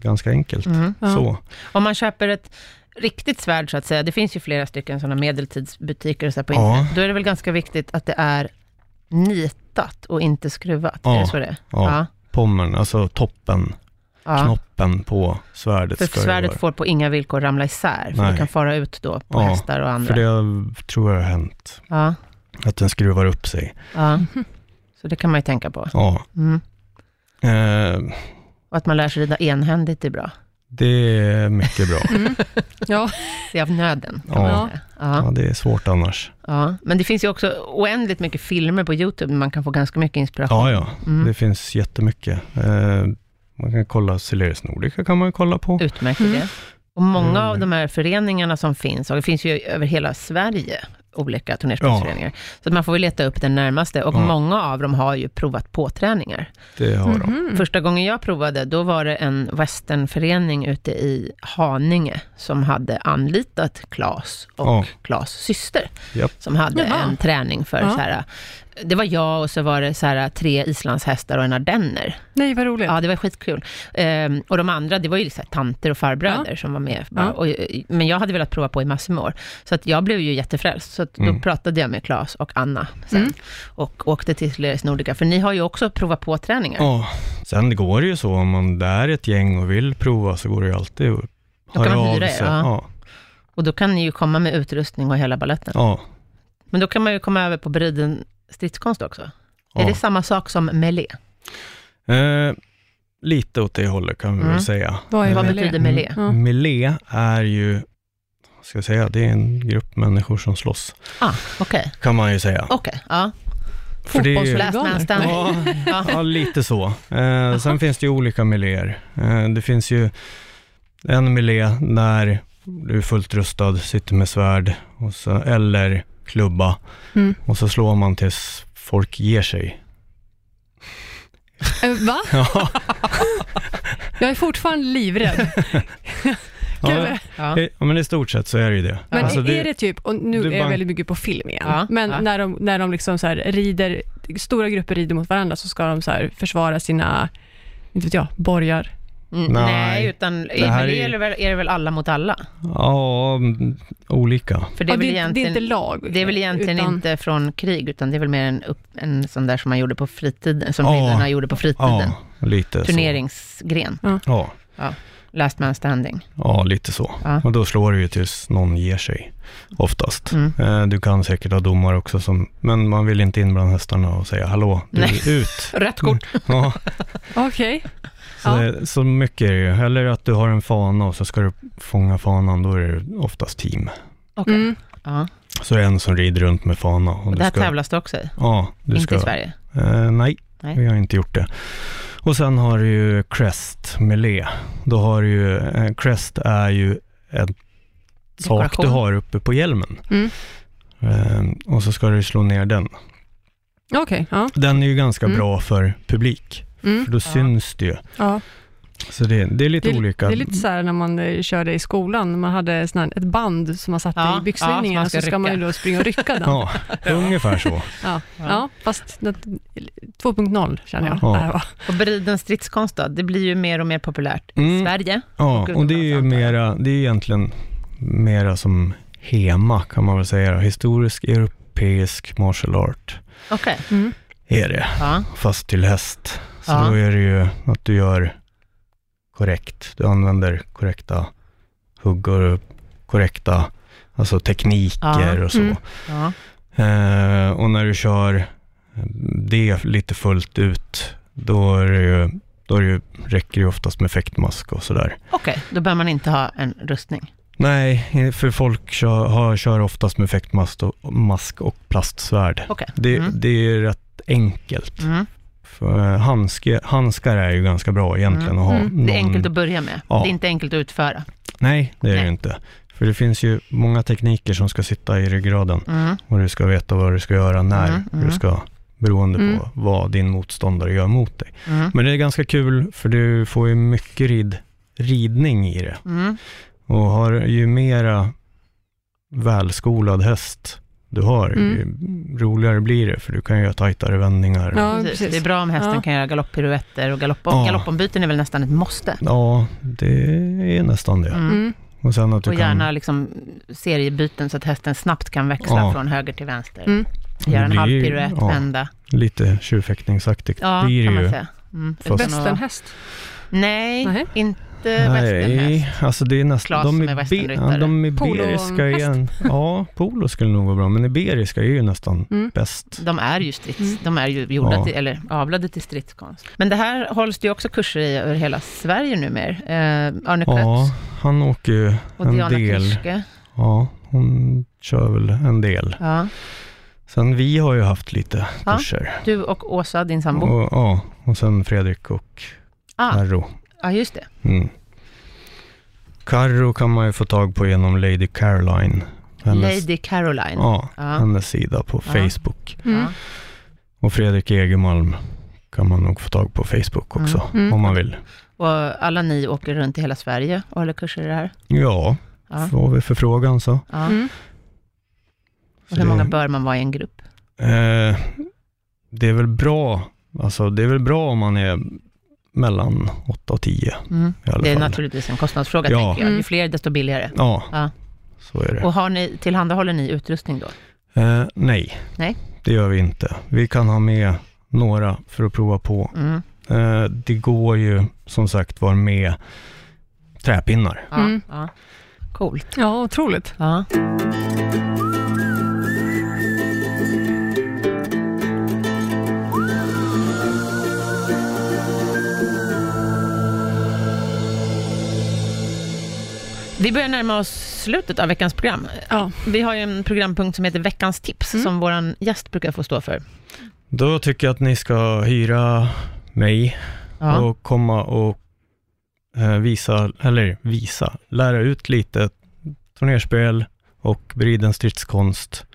C: ganska enkelt.
A: Mm.
B: Ja.
C: Så.
A: Om man köper ett riktigt svärd så att säga, det finns ju flera stycken sådana medeltidsbutiker och så här på
C: Ja.
A: internet, då är det väl ganska viktigt att det är nitat och inte skruvat,
C: Ja.
A: är det så det är?
C: Ja, pommern, alltså toppen,
A: Ja.
C: knoppen på svärdet
A: För
C: ska ju
A: svärdet
C: vara-
A: får på inga villkor ramla isär, för
C: Nej.
A: det kan fara ut då på
C: Ja,
A: hästar och andra.
C: För det tror jag har hänt,
A: Ja,
C: att den skruvar upp sig.
A: ja. Så det kan man ju tänka på.
C: Ja.
A: Mm.
C: Eh,
A: Och att man lär sig rida enhändigt är bra.
C: det är mycket bra.
B: Ja.
A: Det är av nöden. kan
C: Ja.
A: man säga.
C: Ja,
A: Ja,
C: det är svårt annars.
A: ja. Men det finns ju också oändligt mycket filmer på YouTube, där man kan få ganska mycket inspiration.
C: Ja, ja.
A: Mm.
C: Det finns jättemycket. Eh, man kan kolla Celerius Nordica kan man ju kolla på.
A: Utmärkt
B: Mm.
A: idé. Och många av
C: Mm.
A: de här föreningarna som finns, och det finns ju över hela Sverige, olika turnersportföreningar. Så att man får väl leta upp den närmaste, och
C: Ja.
A: många av dem har ju provat påträningar.
C: Det har
A: Mm.
C: de.
B: Mhm.
A: Första gången jag provade, då var det en westernförening ute i Haninge, som hade anlitat Klas och
C: Ja.
A: Klas syster,
C: Japp.
A: som hade
B: Jaha.
A: en träning för
B: Ja.
A: så här, det var jag och så var det så här, tre islandshästar och en ardenner.
B: Nej, vad roligt.
A: Ja, det var skitkul. Ehm, och de andra, det var ju så här, tanter och farbröder som var med. Bara,
B: Ja.
A: och, men jag hade velat prova på i massor med år. Så att jag blev ju jättefrälst. Så att då
C: Mm.
A: pratade jag med Klas och Anna sen.
B: Mm.
A: Och åkte till Leris Nordica, för ni har ju också provat på träningar.
C: Ja. Sen det går ju så, om man är ett gäng och vill prova så går det ju alltid att
A: Då kan
C: höra
A: man
C: av
A: hyra er,
C: sig.
A: ja.
C: Ja.
A: Och då kan ni ju komma med utrustning och hela baletten.
C: Ja.
A: Men då kan man ju komma över på beriden stridskonst också.
C: ja.
A: Är det samma sak som melé?
C: Eh, lite åt det hållet kan vi
A: Mm.
C: väl säga.
B: Vad är
A: Vad
B: melé?
A: betyder melé?
B: Ja.
C: Melé är ju, vad ska jag säga, det är en grupp människor som slåss,
A: Ah, okej.
C: kan man ju säga.
A: Okej, ja.
C: För det är ju-
A: Last man standing.
C: Ja,
A: Ja.
C: ja, lite så. Eh, sen finns det ju olika miljöer. Eh, det finns ju en miljö när du är fullt rustad, sitter med svärd och så, eller klubba
B: Mm.
C: och så slår man tills folk ger sig.
B: Eh, Va?
C: Ja,
B: Jag är fortfarande livrädd.
C: ja.
B: Kul.
A: Ja.
C: Eh, men i stort sett så är det ju det.
B: Men
C: Alltså,
B: är det typ, och nu
C: du
B: är jag
C: bara-
B: väldigt mycket på film igen,
A: Ja,
B: men
A: ja.
B: när de, när de liksom så här rider, stora grupper rider mot varandra så ska de så här försvara sina, inte vet jag, borgar.
A: Mm,
C: Nej.
A: nej, utan i
C: Det här är
A: melé
C: ju-
A: är det, väl, är det väl alla mot alla?
C: Ja, mm, olika.
A: För det är,
B: ja,
A: väl
B: det, är inte- det är
A: egentligen,
B: inte lag.
A: det är väl egentligen
B: utan-
A: inte från krig, utan det är väl mer en, upp, en sån där som man gjorde på fritiden, som
C: Ja.
A: riddarna gjorde på fritiden.
C: Ja, lite
A: Turneringsgren,
C: så. Ja,
A: last man standing.
C: ja, lite så.
A: Ja.
C: Och då slår det ju tills någon ger sig, oftast.
A: Mm.
C: Eh, Du kan säkert ha domar också, som, men man vill inte in bland hästarna och säga hallå, du
A: Nej.
C: är ut.
A: Rött kort.
C: Ja,
B: Okej.
C: så,
B: Ja.
C: det, så mycket är det ju. Eller att du har en fana och så ska du fånga fanan, då är det oftast team.
A: Okej.
B: Mm.
A: Ja.
C: Så är det en som rider runt med fana. Och
A: Och det
C: du
A: här
C: ska,
A: tävlas det också i,
C: ja, du
A: inte
C: ska,
A: i Sverige.
C: Eh, nej,
A: Nej.
C: vi har inte gjort det. Och sen har du ju Crest Melé. Då har du ju, eh, Crest är ju en sak
A: Dekoration.
C: du har uppe på hjälmen.
B: Mm.
C: Eh, och så ska du slå ner den.
B: Okej, ja.
C: Den är ju ganska
B: Mm.
C: bra för publik,
B: Mm.
C: för då
A: Ja.
C: syns det ju.
B: ja.
C: Så det, det är lite
B: Det, är,
C: olika.
B: det är lite så här när man eh, körde i skolan, man hade sån här, ett band som man satte
A: Ja,
B: i
A: ja,
B: byxlinningen,
A: som
B: så ska man ju
A: rycka.
B: då springa och rycka den.
C: Ja, ungefär så.
B: Ja.
A: Ja.
B: Ja, fast det- 2.0 känner jag.
C: Ja.
B: Det här var.
A: Och beriden stridskonst då, det blir ju mer och mer populärt i
C: Mm.
A: Sverige.
C: Ja,
A: Gud,
C: och det är ju
A: vad sant.
C: mera, det är ju egentligen mera som Hema kan man väl säga. då. Historisk europeisk martial art
A: Okej.
B: Mm.
C: är det.
A: Ja.
C: fast till häst. Så
A: Ja.
C: då är det ju att du gör korrekt. Du använder korrekta huggor, och korrekta alltså tekniker
A: Ja.
C: och så.
B: Mm.
A: ja.
C: Eh, och när du kör det lite fullt ut, då, är det ju, då är det ju, räcker det ju oftast med fäktmask och sådär.
A: Okej, då behöver man inte ha en rustning.
C: Nej, för folk kör, har, kör oftast med fäktmask och, mask och plastsvärd.
A: Okej.
C: Det,
A: Mm.
C: det är rätt enkelt.
A: Mm.
C: För eh, handske, handskar är ju ganska bra egentligen
A: Mm.
C: att ha.
B: Mm.
A: Det är
C: någon-
A: enkelt att börja med.
C: Ja.
A: Det är inte enkelt att utföra.
C: Nej, det är det
A: Nej.
C: ju inte. För det finns ju många tekniker som ska sitta i ryggraden
A: Mm.
C: och du ska veta vad du ska göra när
A: Mm, mm.
C: du ska, beroende
B: Mm.
C: på vad din motståndare gör mot dig.
A: Mm.
C: Men det är ganska kul för du får ju mycket rid, ridning i det
A: Mm.
C: och har ju mera välskolad häst du har,
A: Mm.
C: ju roligare blir det för du kan göra tajtare vändningar.
B: Ja,
A: Precis.
B: precis.
A: Det är bra om hästen
B: Ja.
A: kan göra galopppiruetter och galopp
C: Ja.
A: galoppombyten är väl nästan ett måste.
C: Ja, det är nästan det.
A: Mm.
B: Mm.
C: Och sen att du
A: Och
C: kan
A: gärna liksom seriebyten så att hästen snabbt kan växla
C: Ja.
A: från höger till vänster.
B: Mm.
A: Göra en
C: Det
A: halv
C: blir ju-
A: piruett,
C: ja.
A: vända.
C: lite tjurfäktningsaktigt
A: Ja,
C: blir
A: kan
C: det
A: man
C: ju.
A: säga. Mm.
C: Fast-
A: Det är nog-
B: Västernhäst.
A: Nej,
B: Nej.
A: inte västernhäst.
C: alltså det är
A: Klas
C: nästan...
A: som
C: De,
A: är
C: ibe-
A: västernryttare.
C: ja, de iberiska
B: Polo-häst.
C: igen. Ja, polo skulle nog vara bra, men iberiska är ju nästan
B: Mm.
C: bäst.
A: De är ju strids,
B: Mm.
A: de är ju gjorda
C: Ja.
A: till, eller avlade till stridskonst. Men det här hålls det ju också kurser i över hela Sverige numera. Eh, Arne Klötz
C: Ja, han åker ju
A: och
C: en
A: Diana
C: del.
A: Kirske.
C: Ja, hon kör väl en del.
A: Ja.
C: Sen vi har ju haft lite
A: Ja,
C: kurser.
A: Du och Åsa, din sambo.
C: Och, ja, och sen Fredrik och
A: ah,
C: Carro.
A: ja, just det.
C: Mm. Carro kan man ju få tag på genom Lady Caroline. Hennes,
A: Lady Caroline.
C: ja,
A: Ja.
C: hennes sida på
A: Ja.
C: Facebook.
B: Mm.
A: Ja.
C: Och Fredrik Egermalm kan man nog få tag på Facebook också,
B: Mm.
C: om man vill.
A: Och alla ni åker runt i hela Sverige och håller kurser i det här.
C: Ja,
A: Ja.
C: får vi förfrågan så.
A: Ja.
B: Mm.
C: så
A: Och hur många
C: det,
A: bör man vara i en grupp?
C: eh, det är väl bra, alltså det är väl bra om man är mellan 8 och 10
A: Mm.
C: i alla
A: Det är
C: fall.
A: naturligtvis en kostnadsfråga,
C: Ja.
A: tänker jag. Ju
B: Mm.
A: fler, desto billigare.
C: Ja,
A: Ja.
C: så är det.
A: Och har ni, tillhandahåller ni utrustning då?
C: Eh, nej.
A: Nej.
C: det gör vi inte. Vi kan ha med några för att prova på.
A: Mm.
C: Eh, det går ju som sagt var med träpinnar.
A: Ja.
B: Mm.
A: Ja. Coolt.
B: Ja, otroligt.
A: Ja. Vi börjar närma oss slutet av veckans program.
B: Ja.
A: Vi har ju en programpunkt som heter Veckans tips,
B: Mm.
A: som vår gäst brukar få stå för.
C: Då tycker jag att ni ska hyra mig
A: Ja.
C: och komma och eh, visa, eller visa, lära ut lite turnerspel och briden stridskonst.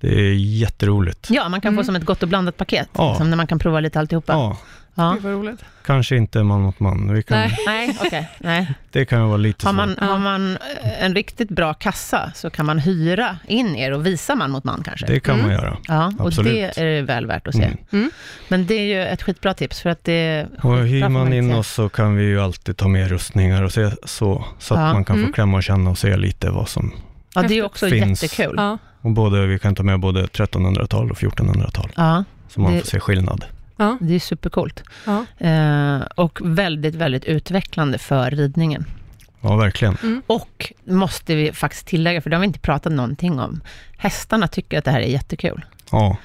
C: Det är jätteroligt.
A: Ja, man kan få
B: Mm.
A: som ett gott och blandat paket,
C: Ja.
A: som när man kan prova lite alltihopa.
C: Ja,
A: Ja.
B: Gud vad roligt.
C: kanske inte man mot man. Vi kan,
B: Nej.
A: Nej, okej. Nej.
C: det kan ju vara lite
A: Har
C: svårt.
A: man,
B: Ja.
A: har man eh, en riktigt bra kassa så kan man hyra in er och visa man mot man kanske.
C: Det kan man
B: Mm.
C: göra.
A: ja, och
C: absolut.
A: det är väl värt att se.
C: Mm.
A: Men det är ju ett skitbra tips för att det...
C: Och hyr
A: skitbra får
C: man
A: inte
C: in
A: säga.
C: oss så kan vi ju alltid ta med rustningar och se så, så att
A: Ja.
C: man kan
B: Mm.
C: få klämma och känna och se lite vad som...
A: Ja, det är ju också
C: Finns.
A: jättekul. Ja.
B: Ja.
C: Och både, vi kan ta med både 1300-tal och 1400-tal, så man
A: Det-
C: får se skillnad.
B: Ja.
A: det är supercoolt.
B: Ja.
A: Eh, och väldigt, väldigt utvecklande för ridningen.
C: Ja, verkligen.
A: Och måste vi faktiskt tillägga, för det har vi inte pratat någonting om, hästarna tycker att det här är jättekul.
C: Ja,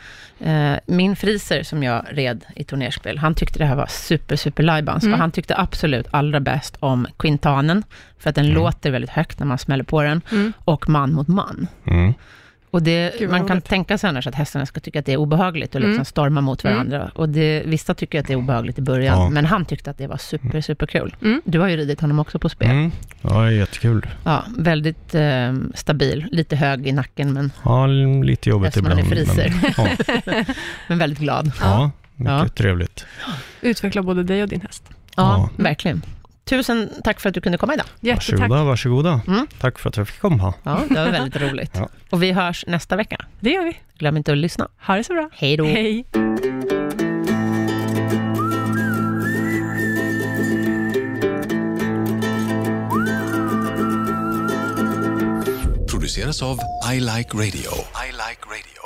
A: Eh, Min friser som jag red i turnerspel, han tyckte det här var super, super lajbans.
B: Mm.
A: Och han tyckte absolut allra bäst om Quintanen, för att den
C: Mm.
A: låter väldigt högt när man smäller på den.
B: Mm.
A: Och man mot man.
C: mm.
A: Och det,
B: Gud, vad
A: man kan
B: roligt.
A: tänka sig annars att hästarna ska tycka att det är obehagligt och liksom
B: Mm.
A: storma mot varandra. Och det, vissa tycker att det är obehagligt i början,
C: Ja.
A: men han tyckte att det var super, super kul.
B: Mm.
A: Du har ju ridit honom också på spel.
C: Mm. ja det är jättekul.
A: Ja, väldigt eh, stabil, lite hög i nacken, men,
C: Ja, l- lite jobbigt
A: Eftersom man
C: ibland.
A: är friser.
C: Men, ja,
A: men väldigt glad.
C: ja, mycket
A: Ja.
C: trevligt.
B: Utveckla både dig och din häst.
A: Ja,
C: Ja.
A: verkligen. Tusen tack för att du kunde komma idag.
B: Jättetack.
C: Varsågoda, varsågoda.
A: Mm.
C: Tack för att jag fick komma.
A: Ja, det var väldigt roligt.
C: Ja.
A: Och vi hörs nästa vecka.
B: Det gör vi.
A: Glöm inte att lyssna.
B: Ha det så bra.
A: Hej då!
B: Hej.
D: produceras av I Like Radio. I like radio.